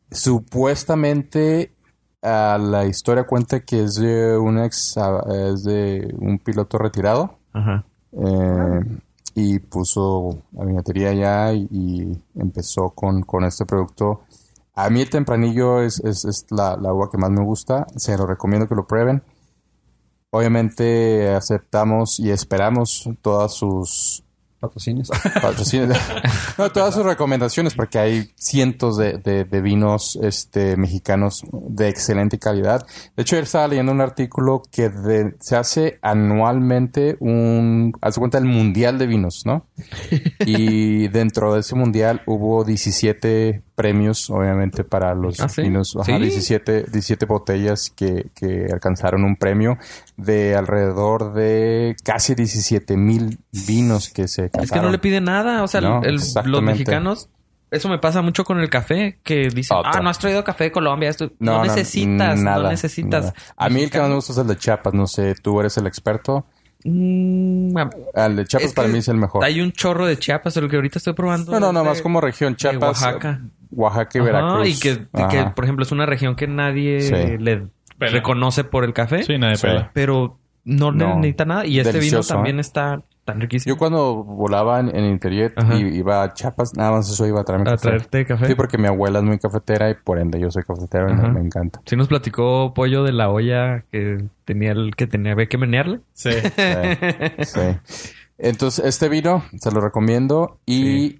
Supuestamente. ah, la historia cuenta que es de un ex. ah, Es de un piloto retirado.
Ajá.
Eh, y puso la vinatería allá y, y empezó con, con este producto. A mí el tempranillo es, es- es la, la uva que más me gusta. Se lo recomiendo que lo prueben. Obviamente aceptamos y esperamos todas sus
Patrocinios.
patrocinios. no, todas sus recomendaciones, porque hay cientos de, de- de vinos este, mexicanos de excelente calidad. De hecho, él estaba leyendo un artículo que de- se hace anualmente un... Hace cuenta el Mundial de Vinos, ¿no? Y dentro de ese mundial hubo 17 premios, obviamente, para los
Ah, ¿sí?
vinos. Ajá,
Sí.
17, 17 botellas que, que alcanzaron un premio de alrededor de casi 17 mil vinos que se
Es que no
alcanzaron.
le piden nada. O sea,
No,
el- los
exactamente.
mexicanos... Eso me pasa mucho con el café, que dicen,
Otra.
ah, no has traído café de Colombia, esto- no, necesitas, no
nada,
necesitas.
nada. A mí el que más me gusta es el de Chiapas, no sé, tú eres el experto. Ah,
Mm, a-
El de Chiapas
Es que
para mí es el mejor.
Hay un chorro de Chiapas, el que ahorita estoy probando.
No, no,
es
no, más
de-
como región Chiapas,
Oaxaca.
Oaxaca y
Ajá,
Veracruz.
Y que,
Ajá.
que, por ejemplo, es una región que nadie
Sí.
le reconoce por el café,
Sí, nadie
Sí.
pela.
pero no, le
No.
necesita nada. Y este
Delicioso,
vino también
¿eh?
está tan riquísimo.
Yo cuando volaba en, en el interior
Ajá.
y iba a Chiapas, nada más eso iba a traerme
a
café.
traerte café.
Sí, porque mi abuela es muy cafetera y por ende yo soy cafetero y me,
Ajá.
me encanta.
Sí nos platicó Pollo de la olla que tenía el que tenía había que menearle.
Sí.
Sí, sí. Entonces, este vino se lo recomiendo y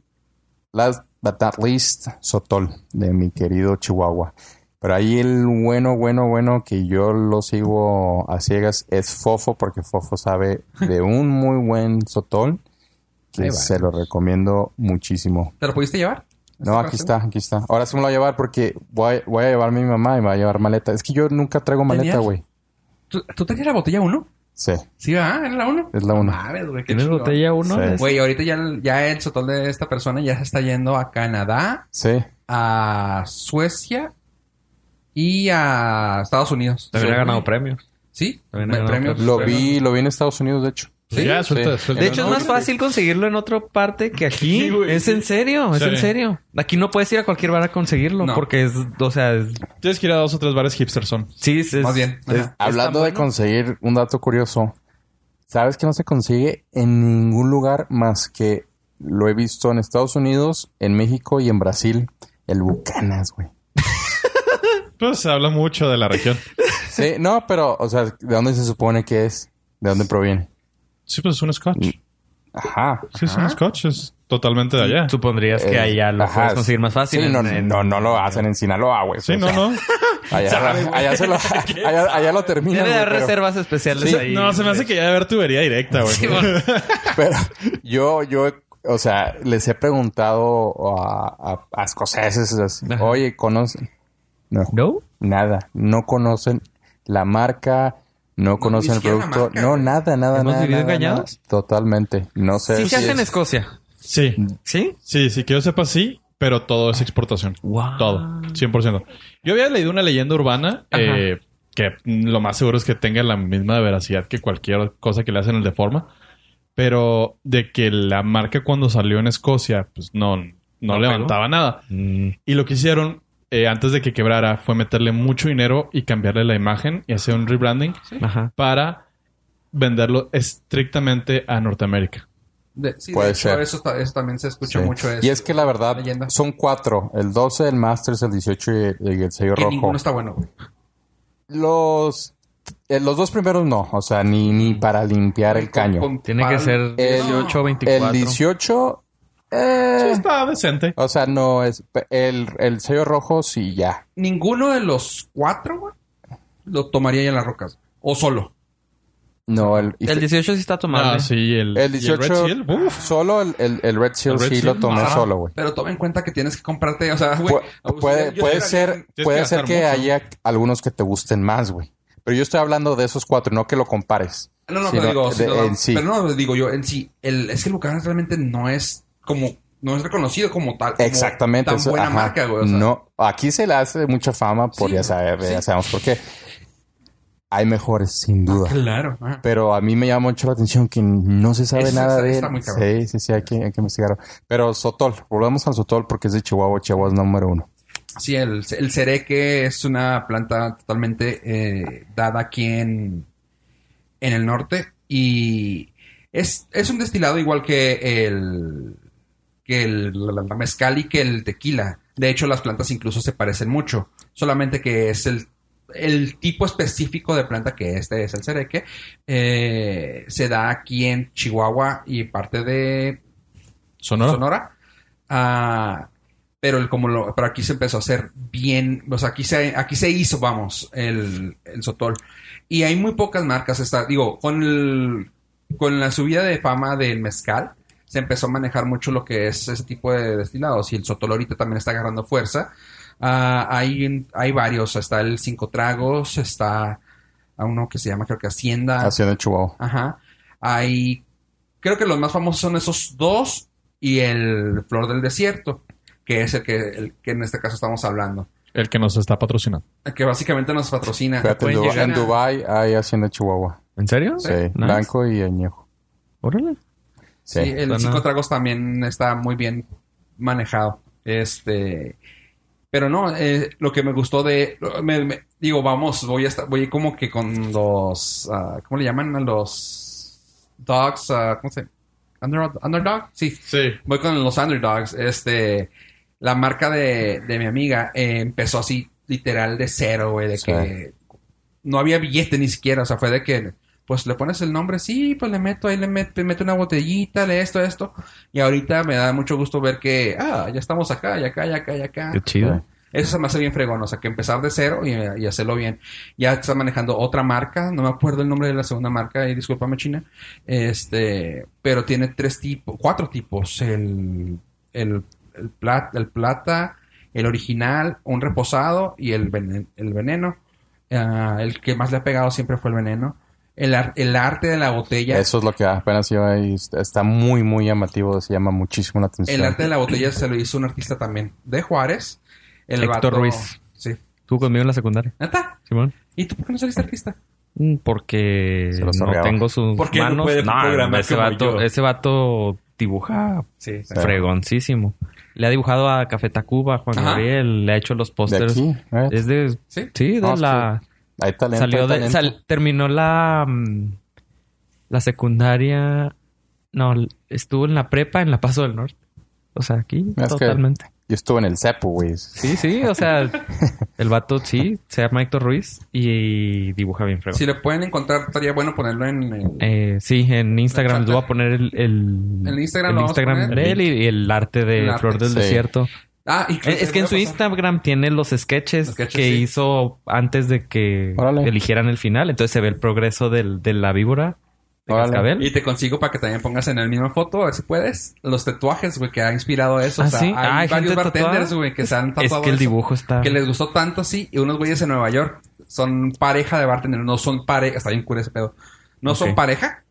last but not least, Sotol de mi querido Chihuahua. Pero ahí el bueno, bueno, bueno que yo lo sigo a ciegas es Fofo porque Fofo sabe de un muy buen Sotol que se lo recomiendo muchísimo.
¿Te lo pudiste llevar?
No, aquí está, aquí está. Ahora sí me lo voy a llevar porque voy, a- voy a llevar a mi mamá y me va a llevar maleta. Es que yo nunca traigo maleta,
Genial.
güey.
¿Tú, tú tenías la botella 1?
Sí,
Sí, ¿verdad? ¿Era la 1?
es la una.
Mames, güey. qué
¿Tienes
chingón.
botella uno?
Sí.
de esas?
Güey, ahorita ya, el- ya el sotol de esta persona ya se está yendo a Canadá,
Sí.
a Suecia y a Estados Unidos.
También
Sí.
ha ganado premios.
Sí,
También ha ganado
premios.
Lo vi, lo vi en Estados Unidos, de hecho.
Sí,
ya, suelta,
sí.
suelta.
De hecho, es más fácil conseguirlo en otra parte que aquí.
Sí, güey.
es en serio, es
Sí.
en serio. Aquí no puedes ir a cualquier bar a conseguirlo
No.
porque es, o sea, es-
Tienes que ir a dos o tres bares hipsterson.
sí, es, es-
Más bien.
es-
Ajá.
Hablando
tan
de
bueno?
conseguir un dato curioso, ¿sabes que no se consigue en ningún lugar más que lo he visto en Estados Unidos, en México y en Brasil? El Bucanas, güey.
Pues se habla mucho de la región.
Sí, no, pero, o sea, ¿de dónde se supone que es? ¿De dónde proviene?
Sí, pues es un scotch.
Ajá.
Sí, es un scotch. Es totalmente de allá.
Supondrías que
Eh,
allá lo
ajá,
puedes conseguir más fácil.
Sí,
en-
no,
en-
no, no lo hacen en Sinaloa, güey.
Sí,
O
no,
sea,
no.
Allá, allá se lo, allá, allá lo terminan.
Debe de
güey,
haber
pero-
reservas especiales
Sí.
ahí.
No, se me hace que ya debe haber tubería directa, güey.
Pero yo, yo, o sea, les he preguntado a, a- a escoceses, así,
Ajá.
oye, ¿conocen? No,
¿No?
nada. No conocen la marca, no conocen el
siquiera la
producto.
marca,
no,
güey.
nada, nada,
¿Hemos
nada.
vivido
nada,
engañados?
nada. Totalmente. No sé.
Sí se
si
hace en
es-
Escocia.
Sí,
¿Sí?
sí, sí, que yo sepa, sí, pero todo es exportación.
Wow.
Todo, 100%. Yo había leído una leyenda urbana
Ajá.
eh, que mm, lo más seguro es que tenga la misma veracidad que cualquier cosa que le hacen el de forma, pero de que la marca cuando salió en Escocia, pues no, no,
pegó.
levantaba nada. Y lo que hicieron eh, antes de que quebrara fue meterle mucho dinero y cambiarle la imagen y hacer un rebranding
Ajá.
para venderlo estrictamente a Norteamérica.
De- sí, de
Puede
hecho,
ser.
Eso, ta- eso también se escucha
Sí.
mucho.
Y es que la verdad
leyenda.
son cuatro: el 12, el Masters, el 18 y, y el sello
que
rojo.
ninguno está bueno, güey.
Los, eh, los dos primeros no, o sea, ni, ni para limpiar el caño.
Con-
Tiene que
para-
ser
El-
18 24.
El 18, eh,
Sí, está decente.
o sea, no es el, el sello rojo, sí, ya.
Ninguno de los cuatro, güey, lo tomaría ya en las rocas. O solo.
No, el, y
El
fe-
18 sí está tomable.
Ah, sí, el,
el
y el Red
18,
Seal, uf.
solo el, el- el Red Seal
El Red
sí
Seal,
lo tomé
Ajá.
solo, güey.
Pero toma en cuenta que tienes que comprarte, o sea, güey.
Pu-
o sea,
puede
yo
puede
esperaría-
ser,
que
puede ser
gastar
que
mucho.
haya algunos que te gusten más, güey. Pero yo estoy hablando de esos cuatro, no que lo compares.
Ah, No, no,
sino
pero digo,
de-
si lo-
en sí.
pero no, digo yo, en sí, el, es que el Bucanas realmente no es como, no es reconocido como tal. como
Exactamente.
Tan
eso,
buena
ajá.
marca, güey. o sea.
No, aquí se le hace mucha fama por
Sí,
ya, sabe- ya
sí.
sabemos por qué. Hay mejores, sin
Ah,
duda.
Claro. ajá.
Pero a mí me llama mucho la atención que no se sabe
Eso
nada
está-
de
está
él.
muy cabrón.
sí, sí, sí, hay que, hay que investigarlo. Pero Sotol, volvemos al Sotol porque es de Chihuahua, Chihuahua es número uno.
Sí, el, el cereque es una planta totalmente eh, dada aquí en, en el norte y es, es un destilado igual que el que el la- la- la mezcal y que el tequila. De hecho, las plantas incluso se parecen mucho. Solamente que es el, el tipo específico de planta que este es el cereque. eh, se da aquí en Chihuahua y parte de
Sonora.
Sonora. Ah, pero el, como lo, pero aquí se empezó a hacer bien, o sea, aquí se, aquí se hizo, vamos, el, el Sotol. Y hay muy pocas marcas, está, digo, con el, con la subida de fama del mezcal, se empezó a manejar mucho lo que es ese tipo de destilados y el Sotol ahorita también está agarrando fuerza. Ah, hay, hay varios, está el Cinco Tragos, está a uno que se llama creo que Hacienda.
Hacienda Chihuahua.
Ajá. Hay. Creo que los más famosos son esos dos y el Flor del Desierto, que es el que, el que en este caso estamos hablando.
El que nos está patrocinando.
El Que básicamente nos patrocina.
Fíjate, en,
Pueden
Dubai,
llegar
en
a-
Dubái hay Hacienda Chihuahua.
¿En serio?
Sí,
Nice.
blanco y añejo.
Órale.
Sí,
Sí.
el
Suena-
Cinco Tragos también está muy bien manejado. Este. Pero no, eh, lo que me gustó de. lo- me- me- digo, vamos, voy a estar, voy como que con los. ah, ¿Cómo le llaman a los. Dogs? ah, ¿Cómo se Under, ¿Underdog? Sí.
Sí.
voy con los underdogs. Este, la marca de, de mi amiga eh, empezó así, literal, de cero, güey, de
Sí.
que no había billete ni siquiera. O sea, fue de que, pues le pones el nombre, sí, pues le meto ahí, le met- le meto, una botellita, le esto, esto. Y ahorita me da mucho gusto ver que, ah, ya estamos acá, y acá, y acá, y acá.
Qué chido.
Eso se me hace bien fregón, o sea, que empezar de cero y, y hacerlo bien. Ya está manejando otra marca, no me acuerdo el nombre de la segunda marca, y discúlpame China, este, pero tiene tres tipos, cuatro tipos, el, el, el, plat- el plata, el original, un reposado y el, venen- el veneno. Ah, el que más le ha pegado siempre fue el veneno. El, ar- el arte de la botella.
Eso es lo que apenas iba ahí. Está muy, muy llamativo. Se llama muchísimo la atención.
El arte de la botella se lo hizo un artista también de Juárez. El
Héctor
vato-
Ruiz.
Sí.
Tú conmigo en la secundaria,
¿Neta?
Simón.
¿Y tú por qué no saliste artista?
Mm, Porque
Se los
no
arreaba.
tengo sus
¿Por qué no
manos.
puede programar
ese
como
vato,
yo?
ese vato dibuja
Sí,
Sí.
fregoncísimo. Le ha dibujado a Café Tacuba, a Juan
Ajá.
Gabriel, le ha hecho los
de
pósters.
aquí. ¿eh?
Es de
Sí.
sí, de
No, es
la
Hay talento.
salió
hay
de
talento.
sal- terminó la mm, la secundaria no, estuvo en la prepa en La Paso del Norte. O sea, aquí
Es que-
totalmente.
Yo estuve en el CEPU, güey.
Sí, sí, o sea, el vato sí, se llama Héctor Ruiz y dibuja bien fregón.
Si le pueden encontrar, estaría bueno ponerlo en... en-
Eh, sí, en Instagram les voy a poner el, el,
El Instagram lo
el
vamos a
Instagram
poner.
de él y, y el arte de
El arte.
Flor del
Sí.
Desierto.
Ah, y
Eh, Es que en su Instagram tiene los sketches,
Los sketches,
que
sí.
hizo antes de que
Órale.
eligieran el final. Entonces se ve el progreso del, de la víbora de
Órale.
Cascabel.
Y te consigo para que también pongas en la misma foto, a ver si puedes, los tatuajes, güey, que ha inspirado eso.
Ah,
o sea,
¿sí?
hay
Ah, hay
varios
gente
bartenders,
tatuada.
güey, que se han
Es
tatuado
que el
eso,
dibujo está...
Que les gustó tanto así. Y unos güeyes en Nueva York son pareja de bartenders. No son pareja. Está bien cura ese pedo. No son
Ok.
pareja.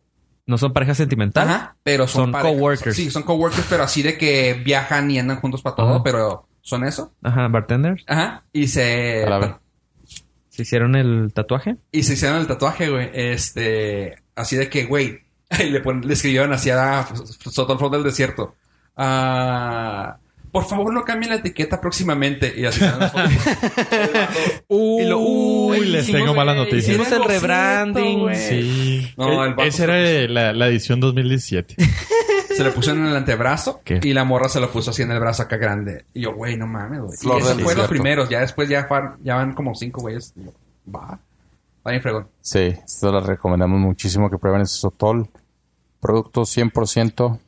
No son pareja sentimental.
Ajá. Pero son,
Son
pareja.
coworkers.
Sí, son coworkers, pero así de que viajan y andan juntos para todo.
Ajá.
Pero son eso.
Ajá, bartenders.
Ajá. Y se...
A la ver.
¿Se hicieron el tatuaje?
Y se hicieron el tatuaje, güey. Este. Así de que, güey. Y le, pon- le escribieron así a Sotol Flor del Desierto. Ah, por favor, no cambien la etiqueta próximamente. Y así están las fotos.
y lo- uy,
les
hicimos
tengo malas
el-
noticias.
Hicimos el rebranding.
Sí. E-,
No, el vato
Esa era la, la edición 2017.
Se lo pusieron en el antebrazo.
¿Qué?
Y la morra se lo puso así en el brazo acá grande. Y yo, güey, no mames, güey.
Flor
Y esos
del
fueron los
Desierto.
primeros. Ya después ya, far- ya van como cinco güeyes. Y yo, Va. Está bien fregón.
Sí, esto lo recomendamos muchísimo que prueben ese sotol. Producto 100%.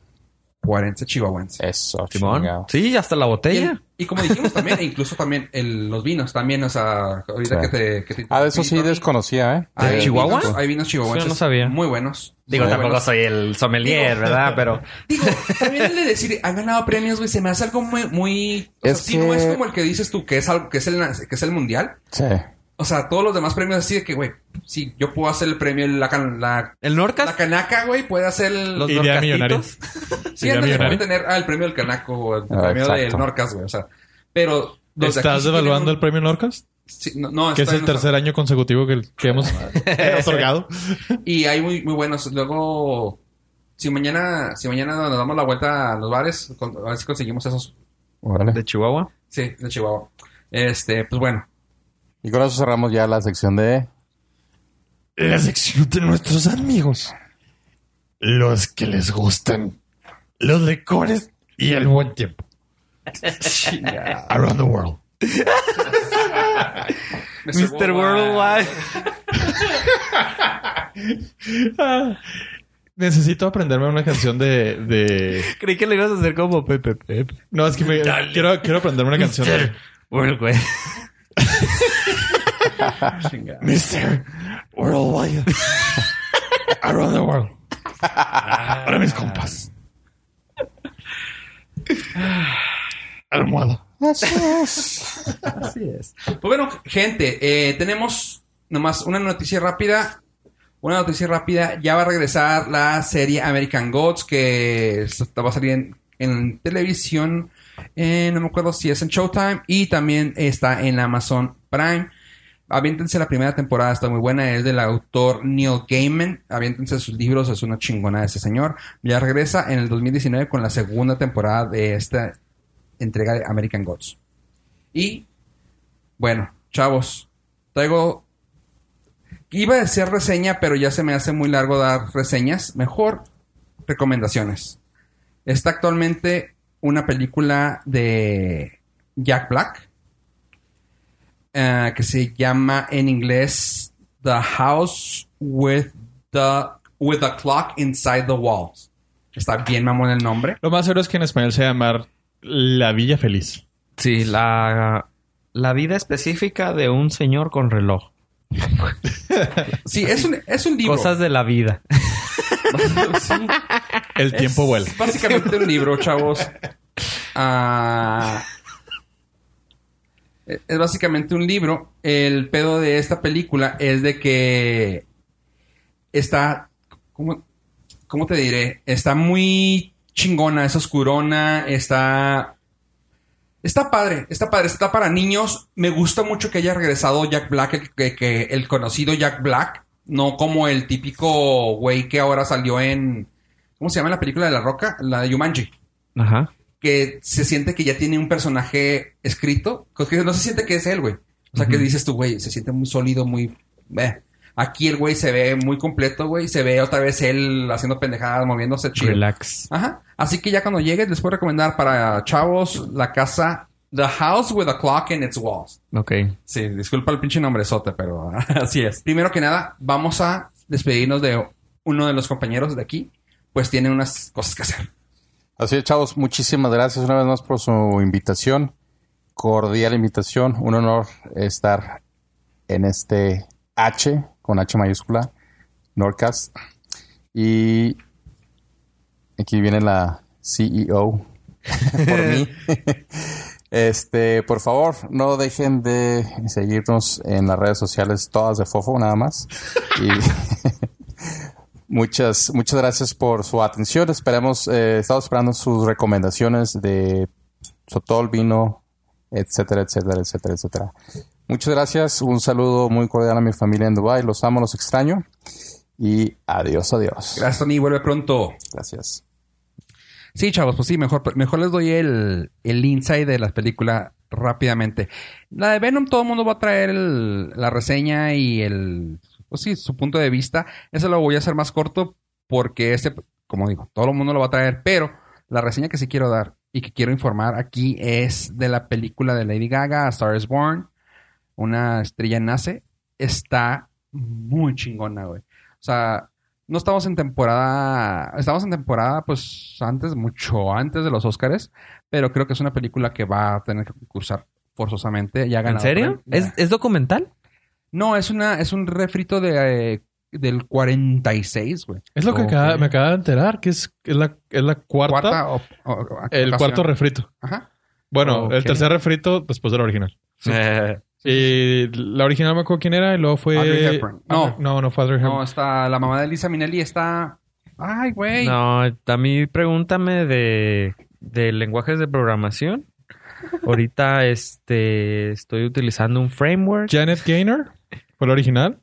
Cuarenta chihuahuense.
Eso,
Simón.
chingado.
Sí, hasta la botella.
Y, y como dijimos también, e incluso también el- los vinos también, o sea, ahorita
Sí.
que te... Que te
Ah, de eso sí
Pinto-
desconocía, ¿eh?
Hay
Eh,
Chihuahua?
vinos- hay vinos chihuahuenses.
Yo no sabía.
Muy buenos.
Digo,
Muy
tampoco
buenos.
soy el sommelier, ¿verdad? Pero
Digo, también el de decir, han ganado premios, güey, se me hace algo muy... muy o sea,
Es
sí, no
que-
es como el que dices tú, que es algo, que es el, que es el mundial.
Sí.
O sea, todos los demás premios así de que, güey, si yo puedo hacer el premio, la, can- la,
el
la
Norcas,
canaca, güey, puede hacer el...
los
Idea millonaria.
Norcastitos.
sí,
idea
antes de
millonaria.
tener ah, el premio del canaco o el
Ah,
premio del
exacto.
Norcas, güey, o sea, pero... los de aquí sí
¿Estás
tienen
evaluando
un-
el premio Norcas?
sí, no, no,
Que es
está
el
bien, o sea,
tercer año consecutivo que, que hemos otorgado.
Y hay muy, muy buenos. Luego, si mañana, si mañana nos damos la vuelta a los bares, con- a ver si conseguimos esos.
Órale.
de Chihuahua.
Sí, de Chihuahua. Este, pues bueno.
Y con eso cerramos ya la sección de...
La sección de nuestros amigos. Los que les gustan los licores y el buen tiempo. Around the world.
Mr. Worldwide.
Ah, necesito aprenderme una canción de, de-
Creí que le ibas a hacer como Pepe Pepe.
No, es que me- quiero, quiero aprenderme una canción de...
Worldwide.
Mr. Worldwide. Around the world. Para mis compas. Almohada.
Pues bueno, gente, eh, tenemos nomás una noticia rápida. Una noticia rápida. Ya va a regresar la serie American Gods que se- va a salir en, en televisión. eh, no me acuerdo si es en Showtime y también está en Amazon Prime. Aviéntense la primera temporada, está muy buena. Es del autor Neil Gaiman. Aviéntense sus libros, es una chingona ese señor. Ya regresa en el 2019 con la segunda temporada de esta entrega de American Gods. Y bueno, chavos, traigo. Iba a decir reseña, pero ya se me hace muy largo dar reseñas. Mejor recomendaciones. Está actualmente una película de Jack Black eh, que se llama en inglés The House with the with the Clock Inside the Walls. Está bien mamón el nombre.
Lo más seguro es que en español se llama La Villa Feliz.
Sí, la, la vida específica de un señor con reloj.
Sí, es un, es un libro.
Cosas de la vida.
Sí.
El tiempo
Es
vuela.
Básicamente un libro, chavos. Ah, es básicamente un libro. El pedo de esta película es de que está. ¿Cómo, cómo te diré? Está muy chingona, es oscurona, está. Está padre, está padre, está para niños. Me gusta mucho que haya regresado Jack Black, el- que, que el conocido Jack Black, no como el típico güey que ahora salió en. ¿Cómo se llama la película de La Roca? La de Yumanji.
Ajá.
Que se siente que ya tiene un personaje escrito, que no se siente que es él, güey. O sea, que dices tú, güey, se siente muy sólido, muy. eh. Aquí el güey se ve muy completo, güey. Se ve otra vez él haciendo pendejadas, moviéndose chido.
Relax.
Ajá. Así que ya cuando llegues, les puedo recomendar para chavos la casa The House with a Clock in its Walls.
Ok.
Sí, disculpa el pinche nombrezote, pero así es. Primero que nada, vamos a despedirnos de uno de los compañeros de aquí, pues tiene unas cosas que hacer.
Así es, chavos, muchísimas gracias una vez más por su invitación. Cordial invitación, un honor estar en este H, con H mayúscula, Norcast. Y aquí viene la CEO por mí. Este, por favor, no dejen de seguirnos en las redes sociales, todas de Fofo, nada más. Y Muchas, muchas gracias por su atención. Esperemos, eh, estamos esperando sus recomendaciones de Sotol, vino, etcétera, etcétera, etcétera, etcétera. Muchas gracias. Un saludo muy cordial a mi familia en Dubai. Los amo, los extraño. Y adiós, adiós.
Gracias, Tony. Vuelve pronto.
Gracias.
Sí, chavos, pues sí, mejor, mejor les doy el, el insight de la película rápidamente. La de Venom, todo el mundo va a traer el- la reseña y el, pues sí, su punto de vista. Eso lo voy a hacer más corto porque este, como digo, todo el mundo lo va a traer, pero la reseña que sí quiero dar y que quiero informar aquí es de la película de Lady Gaga, A Star is Born, Una estrella nace. Está muy chingona, güey. O sea, no estamos en temporada, estamos en temporada pues antes, mucho antes de los Óscares, pero creo que es una película que va a tener que concursar forzosamente. Ya ha
¿En
ganado
serio?
pre-
¿Es, ¿Es documental?
No, es una, es un refrito de, eh, del 46, güey.
Es lo que acaba- me acaba de enterar, que es, es la, es la cuarta,
Cuarta o- o- o-
el
ocasión.
cuarto refrito.
Ajá.
Bueno,
Ok.
el tercer refrito después de la original.
Eh,
Y Eh, la original no me acuerdo quién era y luego fue...
Audrey Hepburn. No.
no, no fue Audrey Hepburn.
No, está la mamá de Lisa Minelli, está. Ay, güey.
No, a mí pregúntame de, de lenguajes de programación. Ahorita este, estoy utilizando un framework.
Janet Gaynor fue la original.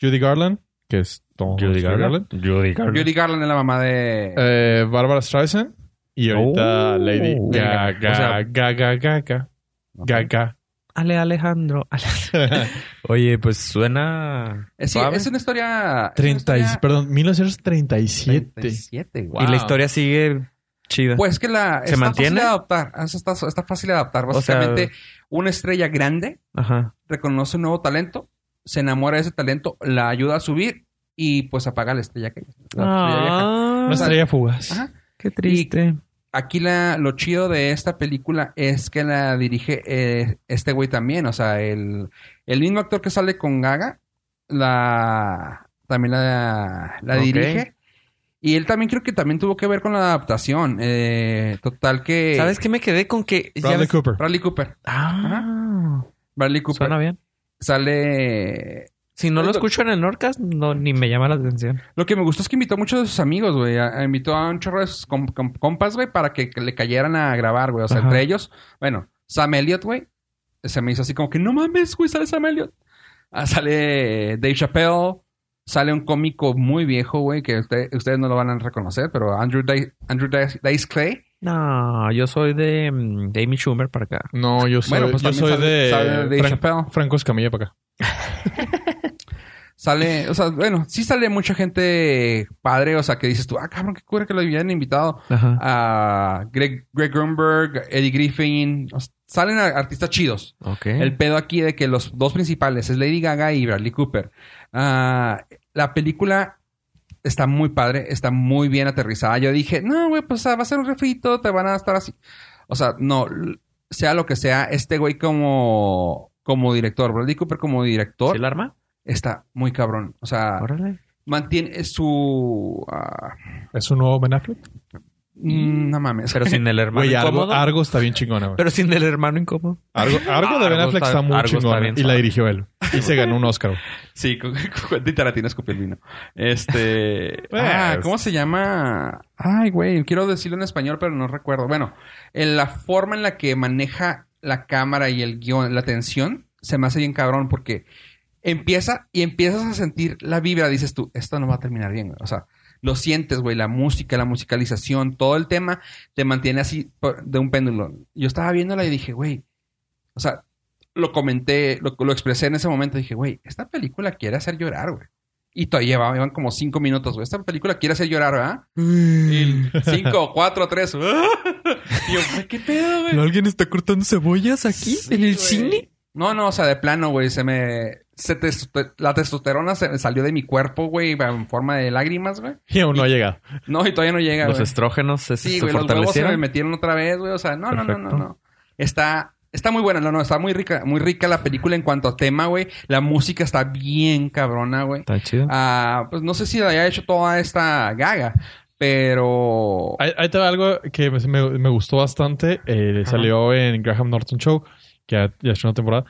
Judy Garland, que es Tom
Judy Garland.
Judy Garland es la mamá de.
Eh, Bárbara Streisand. Y ahorita
Oh.
Lady Gaga.
O sea-
Gaga, Gaga. Gaga.
Ale Alejandro. Ale- Oye, pues suena...
Eh, sí,
suave.
es una historia. es una
30 y-
historia-
perdón, 1937.
37, güey.
Y la historia sigue chida.
Pues que la
¿Se
está
mantiene?
fácil de adaptar. Eso Está, está fácil de adaptar.
O sea-
Básicamente, una estrella grande
Ajá.
reconoce un nuevo talento, se enamora de ese talento, la ayuda a subir y pues apaga la estrella que la estrella vieja.
Ah,
Una estrella fugaz.
Ajá.
qué triste.
Aquí la, lo chido de esta película es que la dirige eh, este güey también. O sea, el, el mismo actor que sale con Gaga, la también la, la
Ok.
dirige. Y él también creo que también tuvo que ver con la adaptación. Eh, total que...
¿Sabes qué me quedé con que... ya
Bradley
ves-
Cooper.
Bradley Cooper.
Ah,
Bradley Cooper.
suena bien.
Sale
Si no lo
Lo-
escucho en el Norcas, no, ni me llama la atención.
Lo que me gustó es que invitó a muchos de sus amigos, güey. A- a- Invitó a un chorro de sus com- com- compas, güey, para que, que le cayeran a grabar, güey. O sea,
Ajá.
entre ellos, bueno, Sam Elliott, güey, se me hizo así como que no mames, güey, sale Sam Elliott. Ah, sale Dave Chappelle, sale un cómico muy viejo, güey, que usted- ustedes no lo van a reconocer, pero Andrew, Dice, Andrew Dice, Dice Clay.
No, yo soy de, mm, de Amy Schumer para acá.
No, yo soy,
Bueno, pues
yo
también
soy
sale-
de,
sale Dave
Fran-
Chappelle.
Franco Escamilla para acá.
Sale, o sea, bueno, sí sale mucha gente padre, o sea, que dices tú, ah, cabrón, qué cura que lo habían invitado.
Ajá.
a Greg, Greg Grunberg, Eddie Griffin. O sea, Salen a- artistas chidos.
Ok.
El pedo aquí de que los dos principales es Lady Gaga y Bradley Cooper. Ah, la película está muy padre, está muy bien aterrizada. Yo dije, no, güey, pues ah, va a ser un refrito, te van a estar así. O sea, no, l- sea lo que sea, este güey como, como director, Bradley Cooper como director,
¿El arma?
está muy cabrón. O sea,
Órale.
mantiene su... ah,
¿Es un nuevo Ben Affleck?
mm, no mames.
Pero sin el hermano
Güey, Argo,
incómodo.
Argo está bien chingona, güey.
Pero sin el hermano incómodo.
Argo, Argo de Ben
Argo
Affleck
está-
está, muy
Argo está
chingona.
bien
y la
suave.
dirigió él. Y se ganó un Oscar. güey.
Sí, con con Quentin Tarantino escupió el vino. Este. ah,
Pues.
¿cómo se llama? Ay, güey, quiero decirlo en español, pero no recuerdo. Bueno, en la forma en la que maneja la cámara y el guión, la tensión, se me hace bien cabrón porque empieza y empiezas a sentir la vibra. Dices tú, esto no va a terminar bien, güey. O sea, lo sientes, güey, la música, la musicalización, todo el tema te mantiene así por- de un péndulo. Yo estaba viéndola y dije, güey, o sea, lo comenté, lo, lo expresé en ese momento. Dije, güey, esta película quiere hacer llorar, güey. Y todavía va- van como cinco minutos, güey. Esta película quiere hacer llorar, ¿verdad?
Mm.
Y cinco, cuatro, tres. Y yo, güey, ¿qué pedo, güey?
¿Alguien está cortando cebollas aquí?
Sí, güey. No, no, o sea, de plano, güey, se me... se testo- la testosterona se me salió de mi cuerpo, güey, en forma de lágrimas, güey.
Y aún no ha llegado.
No, y todavía no llega,
Los
güey.
estrógenos se, se
Sí, güey, los huevos se me
fortalecieron.
metieron otra vez, güey. O sea, no, no, no, no,
Perfecto.
no. Está, está muy buena, no, no, está muy rica, muy rica la película en cuanto a tema, güey. La música está bien cabrona, güey.
Está chido.
Ah, pues no sé si la haya hecho toda esta gaga, pero.
Ahí, ahí te va algo que me, me- me gustó bastante. Eh, salió en Graham Norton Show, que ya, ya hecho una temporada.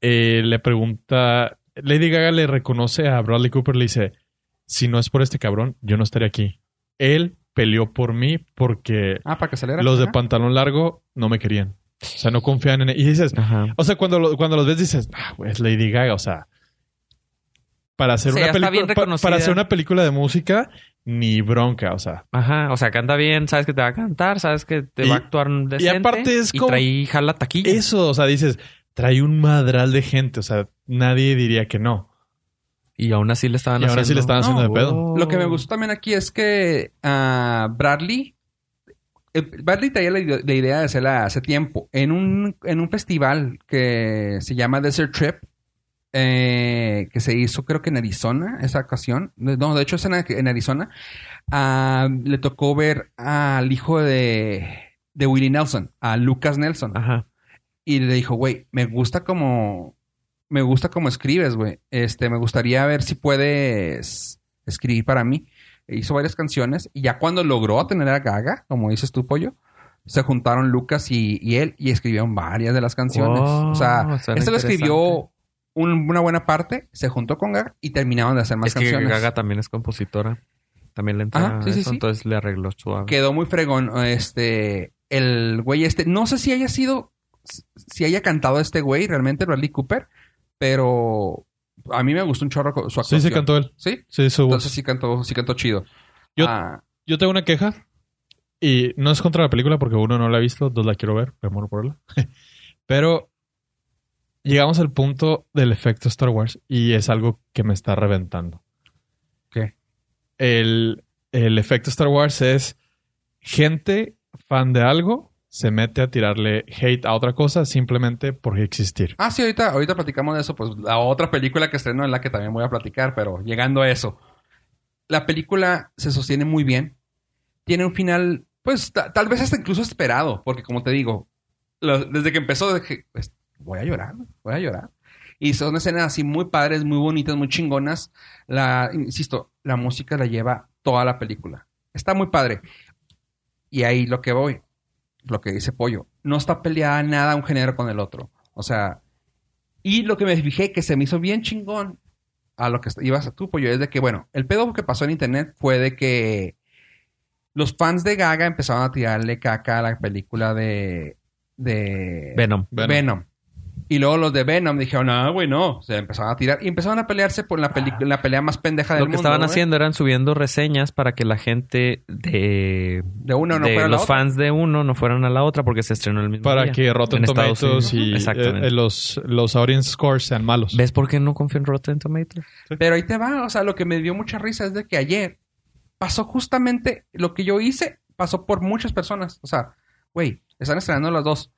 Eh, le pregunta... Lady Gaga le reconoce a Bradley Cooper. Le dice, si no es por este cabrón, yo no estaría aquí. Él peleó por mí porque
Ah, para que saliera.
los de
Ajá.
pantalón largo no me querían. O sea, no confían en él. Y dices,
Ajá.
o sea, cuando, lo- cuando los ves dices, ah, güey, es Lady Gaga, o sea, para hacer,
Sí,
una
está bien
película, pa-
reconocida.
para hacer una película de música, ni bronca, o sea.
Ajá. O sea, canta bien, sabes que te va a cantar, sabes que te
Y-
va a actuar decente.
aparte es
y
como-
trae jala taquilla.
Eso, o sea, dices, trae un madral de gente, o sea, nadie diría que no.
Y aún así le estaban Oh.
Y ahora sí le estaban haciendo de pedo.
Lo que me gustó también aquí es que ah, Bradley. eh, Bradley traía la, ide- la idea de hacerla hace tiempo. En un, en un festival que se llama Desert Trip, eh, que se hizo creo que en Arizona, esa ocasión. No, de hecho es en, en Arizona. Ah, le tocó ver al hijo de, de Willie Nelson, a Lucas Nelson.
Ajá.
Y le dijo, güey, me gusta como... Me gusta como escribes, güey. Este, me gustaría ver si puedes escribir para mí. E hizo varias canciones. Y ya cuando logró tener a Gaga, como dices tú, Pollo, se juntaron Lucas y, y él y escribieron varias de las canciones.
Wow,
o sea,
Oh, suena
este lo escribió
interesante.
un- una buena parte, se juntó con Gaga y terminaron de hacer más
Es que
canciones.
Gaga también es compositora. También le entra
Ajá, sí,
a
sí,
eso,
sí.
entonces le arregló suave.
quedó muy fregón. Este, el güey este, no sé si haya sido, si haya cantado este güey realmente, Bradley Cooper, pero a mí me gustó un chorro co- su
Sí,
actuación.
se cantó él.
Sí,
Sí, su voz.
entonces sí cantó, sí cantó chido.
Yo-
Ah,
Yo tengo una queja y no es contra la película porque uno no la ha visto, dos la quiero ver, me muero por verla. Pero llegamos al punto del efecto Star Wars y es algo que me está reventando.
¿Qué?
El, el efecto Star Wars es gente fan de algo se mete a tirarle hate a otra cosa simplemente por existir.
Ah, sí, ahorita, ahorita platicamos de eso. Pues la otra película que estrenó es la que también voy a platicar, pero llegando a eso. La película se sostiene muy bien. Tiene un final, pues ta- tal vez hasta incluso esperado, porque como te digo, lo- desde que empezó, dije, pues, voy a llorar, voy a llorar. Y son escenas así muy padres, muy bonitas, muy chingonas. La, insisto, la música la lleva toda la película. Está muy padre. Y ahí lo que voy, lo que dice Pollo, no está peleada nada un género con el otro. O sea, y lo que me fijé que se me hizo bien chingón a lo que est- ibas a tú, Pollo, es de que, bueno, el pedo que pasó en internet fue de que los fans de Gaga empezaron a tirarle caca a la película de. de
Venom.
Venom. Y luego los de Venom dijeron, no, güey, no. Se empezaron a tirar. Y empezaron a pelearse por la, peli- la pelea más pendeja del
Lo que
mundo. eh?
estaban
güey.
haciendo eran subiendo reseñas para que la gente de,
De uno no
de
fuera la
los
otra.
fans de uno no fueran a la otra porque se estrenó el mismo
Para
día.
que Rotten
En Estados
Tomatoes y
Unidos. Exactamente.
eh, eh, los, los audience scores sean malos.
¿Ves por qué no confío en Rotten Tomatoes?
Pero ahí te va, o sea, lo que me dio mucha risa es de que ayer pasó justamente lo que yo hice, pasó por muchas personas. O sea, güey, están estrenando las dos.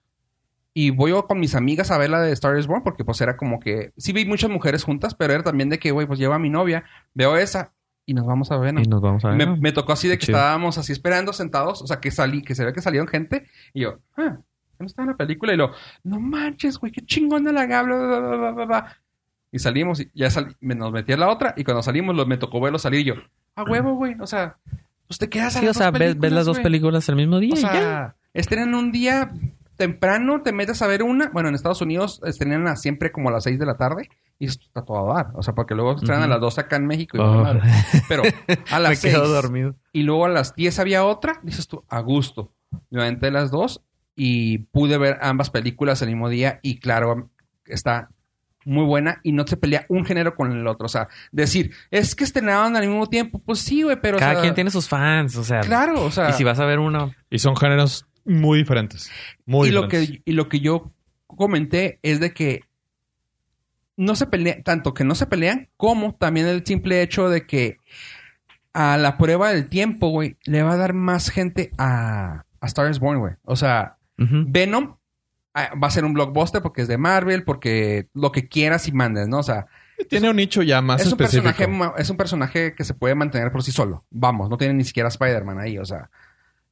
Y voy yo con mis amigas a ver la de Star is Born porque pues era como que... Sí vi muchas mujeres juntas, pero era también de que, güey, pues llevo a mi novia, veo esa y nos vamos a ver. ¿no?
Y nos vamos a ver.
me,
¿no?
me tocó así de que
Chido.
estábamos así esperando sentados, o sea, que salí, que se ve que salieron gente y yo, ah, no está en la película y lo, no manches, güey, qué chingón de la gabla, bla, bla, bla, bla, bla". Y salimos y ya salí, me, nos metí a la otra y cuando salimos lo- me tocó verlo salir y yo, a huevo, güey, o sea, pues te quedas a
Sí, o
las
sea,
dos
ves, ves las dos
güey.
películas el mismo día.
O
y ya.
sea, estrenan un día temprano, te metes a ver una. Bueno, en Estados Unidos estrenan a- siempre como a las 6 de la tarde y esto está todo a dar. O sea, porque luego estrenan a las 12 acá en México. Y
Oh.
madre. Pero a
me
las
quedo
6
dormido.
y luego a las 10 había otra, dices tú, a gusto. Yo entre las dos y pude ver ambas películas el mismo día y claro, está muy buena y no se pelea un género con el otro. O sea, decir, es que estrenaban al mismo tiempo, pues sí, güey, pero... o
Cada
sea,
quien tiene sus fans, o sea.
Claro, o sea...
Y si vas a ver una,
Y son géneros muy diferentes. Muy
y lo
diferentes.
que y lo que yo comenté es de que no se pelean tanto que no se pelean como también el simple hecho de que a la prueba del tiempo güey le va a dar más gente a a Star is Born güey o sea
ujú,
Venom ah, va a ser un blockbuster porque es de Marvel porque lo que quieras y mandes no o sea
Tiene un nicho ya más
es un
específico.
personaje ma- es un personaje que se puede mantener por sí solo vamos no tiene ni siquiera Spider-Man ahí o sea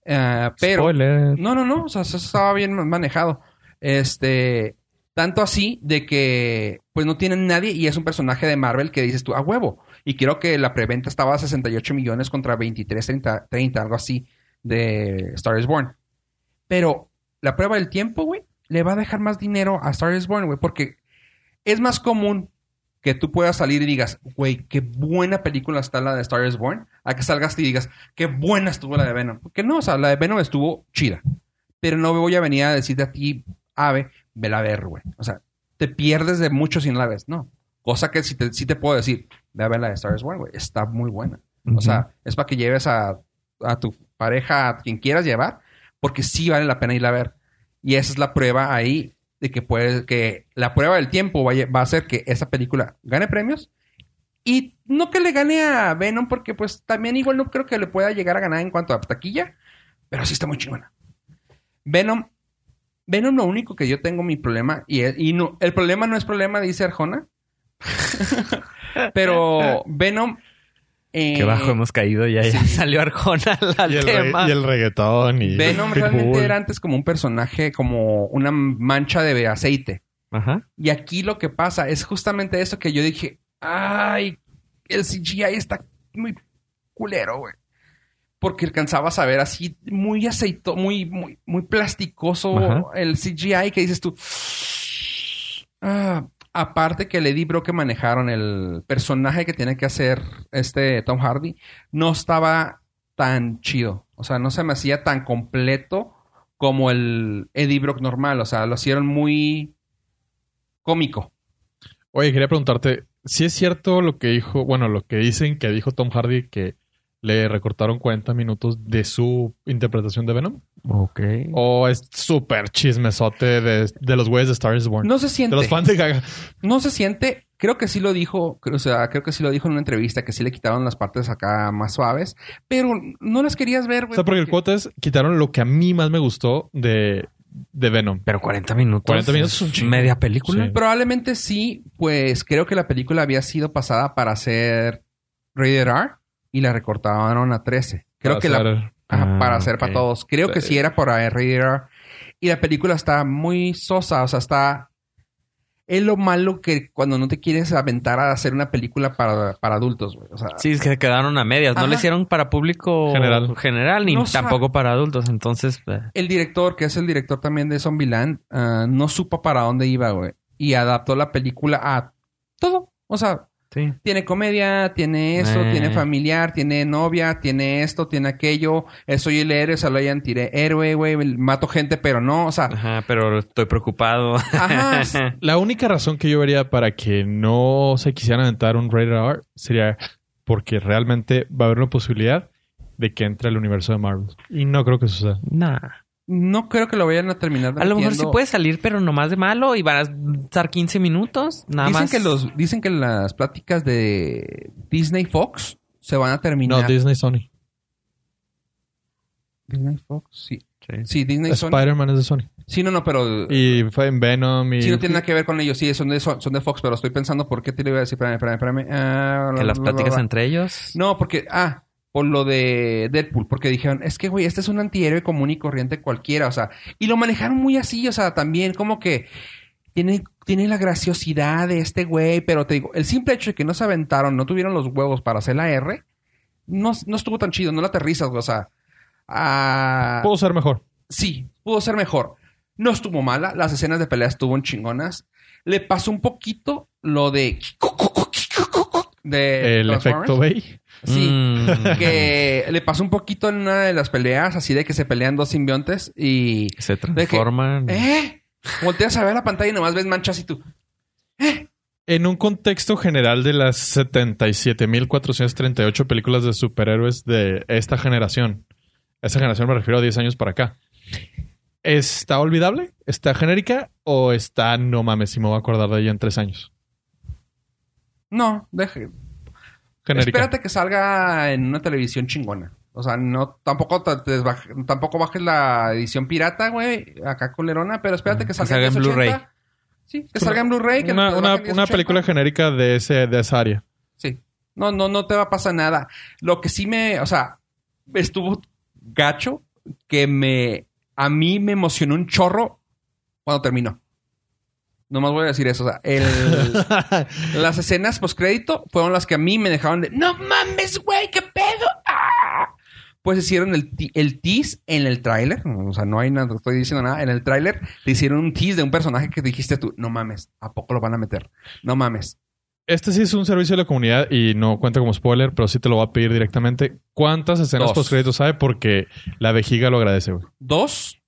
eh, pero
spoiler.
no, no, no. O sea, eso estaba bien manejado. Este. Tanto así de que, pues no tienen nadie y es un personaje de Marvel que dices tú, a huevo. Y quiero que la preventa estaba a 68 millones contra 23, 30, 30, algo así de Star is Born. Pero la prueba del tiempo, güey, le va a dejar más dinero a Star is Born, güey, porque es más común que tú puedas salir y digas, güey, qué buena película está la de Star is Born, a que salgas y digas, qué buena estuvo la de Venom. Porque no, o sea, la de Venom estuvo chida. Pero no me voy a venir a decirte a ti, ave, vela a ver, güey. O sea, te pierdes de mucho sin la ves, no. Cosa que sí te, sí te puedo decir, ve a ver la de Star is Born, güey, está muy buena. O sea, es para que lleves a, a tu pareja, a quien quieras llevar, porque sí vale la pena ir a ver. Y esa es la prueba ahí de que puede, que la prueba del tiempo va a, lle- va a hacer que esa película gane premios. Y no que le gane a Venom, porque pues también igual no creo que le pueda llegar a ganar en cuanto a taquilla, pero sí está muy chingona. Venom, Venom lo único que yo tengo mi problema, y, es- y no, el problema no es problema, dice Arjona. pero Venom... eh,
Qué bajo hemos caído ya, ya salió Arjona al
Y el, re-
tema.
y el reggaetón y
Venom
Pitbull.
realmente era antes como un personaje, como una mancha de aceite.
Ajá.
Y aquí lo que pasa es justamente eso que yo dije, ay, el CGI está muy culero, güey. Porque alcanzabas a ver así muy aceito, muy, muy, muy plasticoso
Ajá.
el CGI que dices tú. "Ah". aparte que el Eddie Brock que manejaron, el personaje que tiene que hacer este Tom Hardy, no estaba tan chido. O sea, no se me hacía tan completo como el Eddie Brock normal. O sea, lo hicieron muy cómico.
Oye, quería preguntarte, si es cierto lo que dijo, bueno, lo que dicen que dijo Tom Hardy que le recortaron 40 minutos de su interpretación de Venom.
Ok.
O es súper chismesote de, de los güeyes de Star is Born.
No se siente.
de los fans de Gaga.
No se siente. Creo que sí lo dijo. O sea, creo que sí lo dijo en una entrevista que sí le quitaron las partes acá más suaves. Pero no las querías ver,
O
güey.
sea, porque el cuota es quitaron lo que a mí más me gustó de, de Venom.
Pero 40 minutos.
40 minutos es un chingo.
Media película.
Sí.
Probablemente sí, pues creo que la película había sido pasada para hacer Rated R y la recortaron a 13. Creo
Para
que la,
hacer-
Ajá,
Ah,
para hacer
ok.
para todos. Creo que sí era para R.R. Y la película está muy sosa, o sea, está... Es lo malo que cuando no te quieres aventar a hacer una película para, para adultos, güey. O sea,
Sí, es que quedaron a medias. No
Ajá.
le hicieron para público
General.
general, ni
No sabe.
tampoco para adultos. Entonces, eh,
el director, que es el director también de Zombieland, ah, no supo para dónde iba, güey. Y adaptó la película a todo. O sea,
sí.
tiene comedia, tiene eso,
Eh.
tiene familiar, tiene novia, tiene esto, tiene aquello. Eh, Soy el héroe, soy el antihéroe, güey. Mato gente, pero no. O sea,
Ajá, pero estoy preocupado.
ajá.
La única razón que yo vería para que no se quisieran aventar un Rated R sería porque realmente va a haber una posibilidad de que entre al universo de Marvel. Y no creo que suceda.
nah.
No creo que lo vayan a terminar.
A lo mejor sí
metiendo.
puede salir, pero nomás de malo y van a estar 15 minutos. Nada
dicen
más.
que los dicen que las pláticas de Disney Fox se van a terminar.
No, Disney Sony.
Disney Fox, sí.
Sí.
Sí, Disney son.
Spider-Man es de Sony.
Sí, no, no, pero
Y fue en Venom y...
sí no tiene nada que ver con ellos. Sí, son de son, son de Fox, pero estoy pensando por qué te lo iba a decir, espérame, espérame, espérame. Ah,
Que
bla,
las
bla, bla,
pláticas
bla.
entre ellos.
No, porque ah, por lo de Deadpool, porque dijeron, es que güey, este es un antihéroe común y corriente cualquiera, o sea, y lo manejaron muy así, o sea, también como que tiene, tiene la graciosidad de este güey, pero te digo, el simple hecho de que no se aventaron, no tuvieron los huevos para hacer la R, no, no estuvo tan chido, no la aterrizas, güey, o sea, ah,
Puedo ser mejor.
sí, pudo ser mejor. No estuvo mala, las escenas de pelea estuvieron chingonas. Le pasó un poquito lo de de
el
Eh, Transformers.
efecto Bay.
Sí
Mm.
que le pasó un poquito en una de las peleas, así de que se pelean dos simbiontes y...
Se
que-
Mm.
transforman.
¿Eh? Volteas a ver la pantalla y nomás ves manchas y tú...
En un contexto general de las 77.438 películas de superhéroes de esta generación, a esa generación me refiero a 10 años para acá, ¿está olvidable? ¿Está genérica? ¿O está, no mames, si me voy a acordar de ella en 3 años?
No, deje.
Genérica.
Espérate que salga en una televisión chingona. O sea, no, tampoco te- te desbaj- tampoco bajes la edición pirata, güey, acá colerona, pero espérate que salga,
salga en
1080.
Blu-ray.
Sí, que salga en Blu-ray. que
Una,
te
una-
bajen
una
1080.
película genérica de, ese, de esa área.
Sí. No, no, no te va a pasar nada. Lo que sí me, o sea, estuvo gacho que me, a mí me emocionó un chorro cuando terminó. Nomás voy a decir eso. O sea, el- las escenas postcrédito fueron las que a mí me dejaron de, no mames, güey, qué pedo. ¡Ah!". Pues hicieron el, ti- el tease en el tráiler. O sea, no hay nada, no estoy diciendo nada. En el tráiler te hicieron un tease de un personaje que dijiste tú, no mames, ¿a poco lo van a meter? No mames.
Este sí es un servicio de la comunidad y no cuenta como spoiler, pero sí te lo va a pedir directamente. ¿Cuántas escenas
Dos.
postcréditos hay? Porque la vejiga lo agradece, güey.
Dos,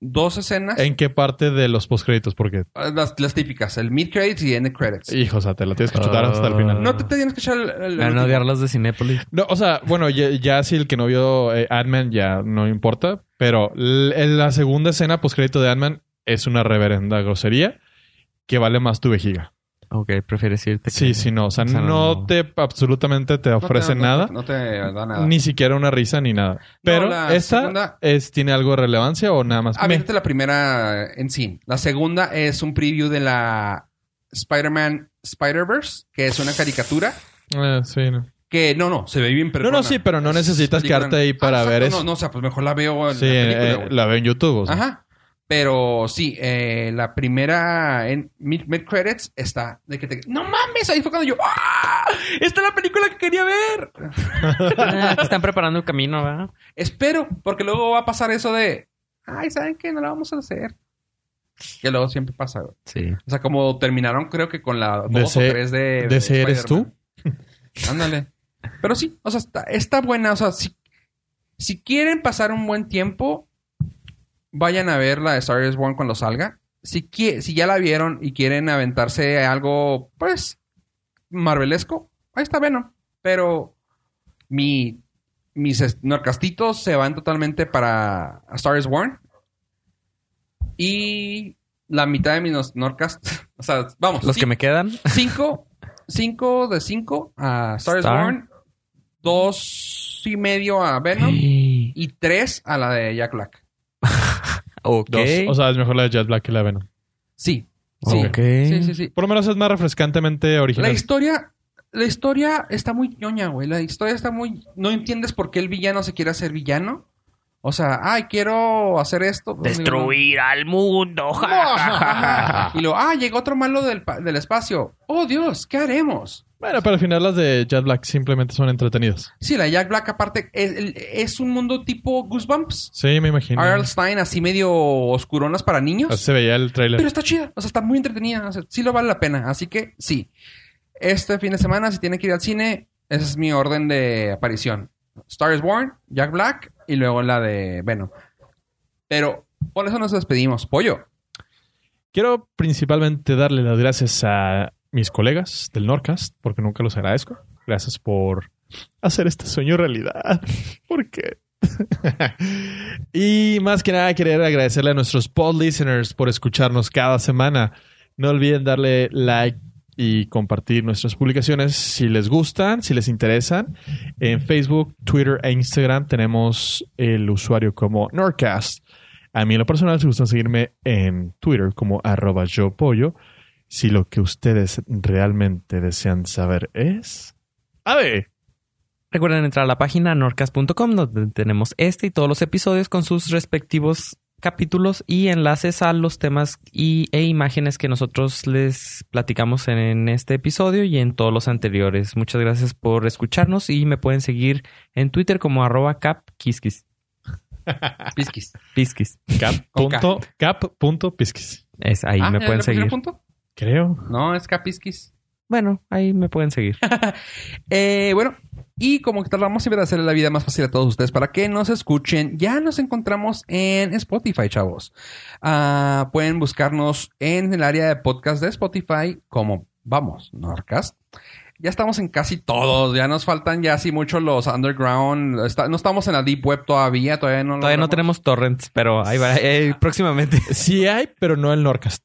dos escenas. ah,
¿En qué parte de los postcréditos? Porque,
Las, las típicas, el mid credits y end credits.
hijo, o sea, te la tienes que chutar hasta el final.
No te, te tienes que echar el, el-
Van a odiar los de Cinépolis.
Ah. No, o sea, bueno, ya, ya si el que no vio eh, Ant-Man ya no importa, pero l- en la segunda escena postcrédito de Ant-Man es una reverenda grosería que vale más tu vejiga.
Ok, prefieres irte.
Sí, sí, no. O sea,
o sea,
no,
no.
te absolutamente te
no te-
ofrece
no te-
nada,
No, te da nada.
ni siquiera una risa ni nada. Pero
la
esta
segunda-
es, tiene algo de relevancia o nada más.
Ah,
me-
viste la primera en sí. La segunda es un preview de la Spider-Man Spider-Verse, que es una caricatura.
Eh, sí, no.
Que no, no, se ve bien
no,
perdona.
no, sí, pero no
Es
necesitas
película-
quedarte ahí para
Ah, exacto,
ver eso.
No, no, o sea, pues mejor la veo en
sí,
la película,
eh,
güey.
la veo en YouTube. o sea.
Ajá. Pero sí, eh, la primera en mid, mid credits está de que te... ¡No mames! Ahí fue cuando yo... ¡Ah! ¡Esta es la película que quería ver!
Ah, Están preparando el camino, ¿verdad?
Espero, porque luego va a pasar eso de... ¡Ay, ¿saben qué? No la vamos a hacer. Que luego siempre pasa. güey.
Sí.
O sea, como terminaron creo que con la 2 o
DC
3 de... de
¿DC eres
Spider-Man. Ándale. Pero sí, o sea, está, está buena. O sea, si, si quieren pasar un buen tiempo, vayan a ver la de Star Wars Born cuando salga. Si, qui- si ya la vieron y quieren aventarse algo, pues, marvelesco, ahí está Venom. Pero mi mis es- norcastitos se van totalmente para A Star is Born. Y la mitad de mis nos- norcast, o sea, vamos,
Los
sí,
que me quedan.
cinco, cinco de cinco a Star, is
Star.
Born, dos y medio a Venom y tres a la de Jack Black.
Ok.
Dos. O sea, es mejor la de Jet Black que la de Venom.
Sí, sí,
Ok.
sí, sí, sí.
Por lo menos es más refrescantemente
La
original.
historia, la historia está muy ñoña, güey. La historia está muy. No entiendes por qué el villano se quiere hacer villano. O sea, ay, quiero hacer esto. Pues,
Destruir al mundo. ja, ja, ja, ja, ja.
Y luego, ah, llegó otro malo del, pa- del espacio. Oh, Dios, ¿qué haremos?
Bueno, pero al final las de Jet Black simplemente son entretenidas.
Sí, la Jack Black, aparte, es, el- es un mundo tipo Goosebumps.
Sí, me imagino.
R.L. Stein, así medio oscuronas para niños.
Así se veía el trailer.
Pero está chida, o sea, está muy entretenida, o sea, sí lo vale la pena, así que sí. Este fin de semana, si tiene que ir al cine, ese es mi orden de aparición. Star is Born, Jack Black y luego la de Venom. Pero por eso nos despedimos. Pollo,
Quiero principalmente darle las gracias a mis colegas del Norcast, porque nunca los agradezco. Gracias por hacer este sueño realidad. Porque. y más que nada, querer agradecerle a nuestros pod listeners por escucharnos cada semana. No olviden darle like y compartir nuestras publicaciones si les gustan, si les interesan. En Facebook, Twitter e Instagram tenemos el usuario como Norcast. A mí en lo personal, si gustan seguirme en Twitter como arroba yo pollo, si lo que ustedes realmente desean saber es... ¡A ver!
Recuerden entrar a la página norcas.com donde tenemos este y todos los episodios con sus respectivos capítulos y enlaces a los temas y, e imágenes que nosotros les platicamos en, en este episodio y en todos los anteriores. Muchas gracias por escucharnos y me pueden seguir en Twitter como arroba capquisquis.
pisquis.
Pisquis.
Cap.pisquis.
Es ahí
Ah,
me
¿ya
pueden
le pusieron
seguir.
punto?
Creo.
No, es capisquis.
Bueno, ahí me pueden seguir.
Eh, bueno, y como que tardamos siempre de hacerle la vida más fácil a todos ustedes para que nos escuchen, ya nos encontramos en Spotify, chavos. Ah, pueden buscarnos en el área de podcast de Spotify como Vamos, Norcast. Ya estamos en casi todos, ya nos faltan ya así mucho los underground, está- no estamos en la deep web todavía, todavía no lo
Todavía no
logramos.
tenemos torrents, pero ahí va, eh, próximamente.
Sí hay, pero no el Norcast.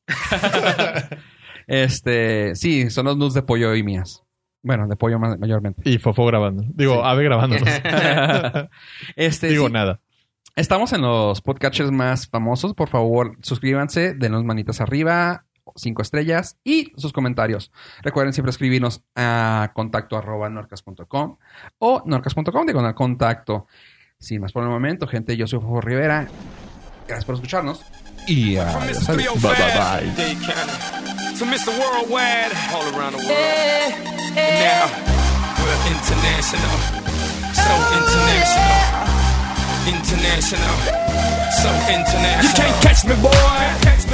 Este, sí, son los nudes de pollo y mías. Bueno, de pollo ma- mayormente.
Y Fofo grabando. Digo,
Sí.
Ave grabando.
Este,
Digo
sí,
nada.
Estamos en los podcatchers más famosos. Por favor, suscríbanse, denos manitas arriba, cinco estrellas y sus comentarios. Recuerden siempre escribirnos a contacto arroba norcas.com o norcas.com digo, al contacto. Sin más por el momento, gente, yo soy Fofo Rivera. Gracias por escucharnos. Y adiós.
Mr. 305 Dade County to Mr. Worldwide all around the world. Eh, And now we're international, so international, international, so international. You can't catch me, boy.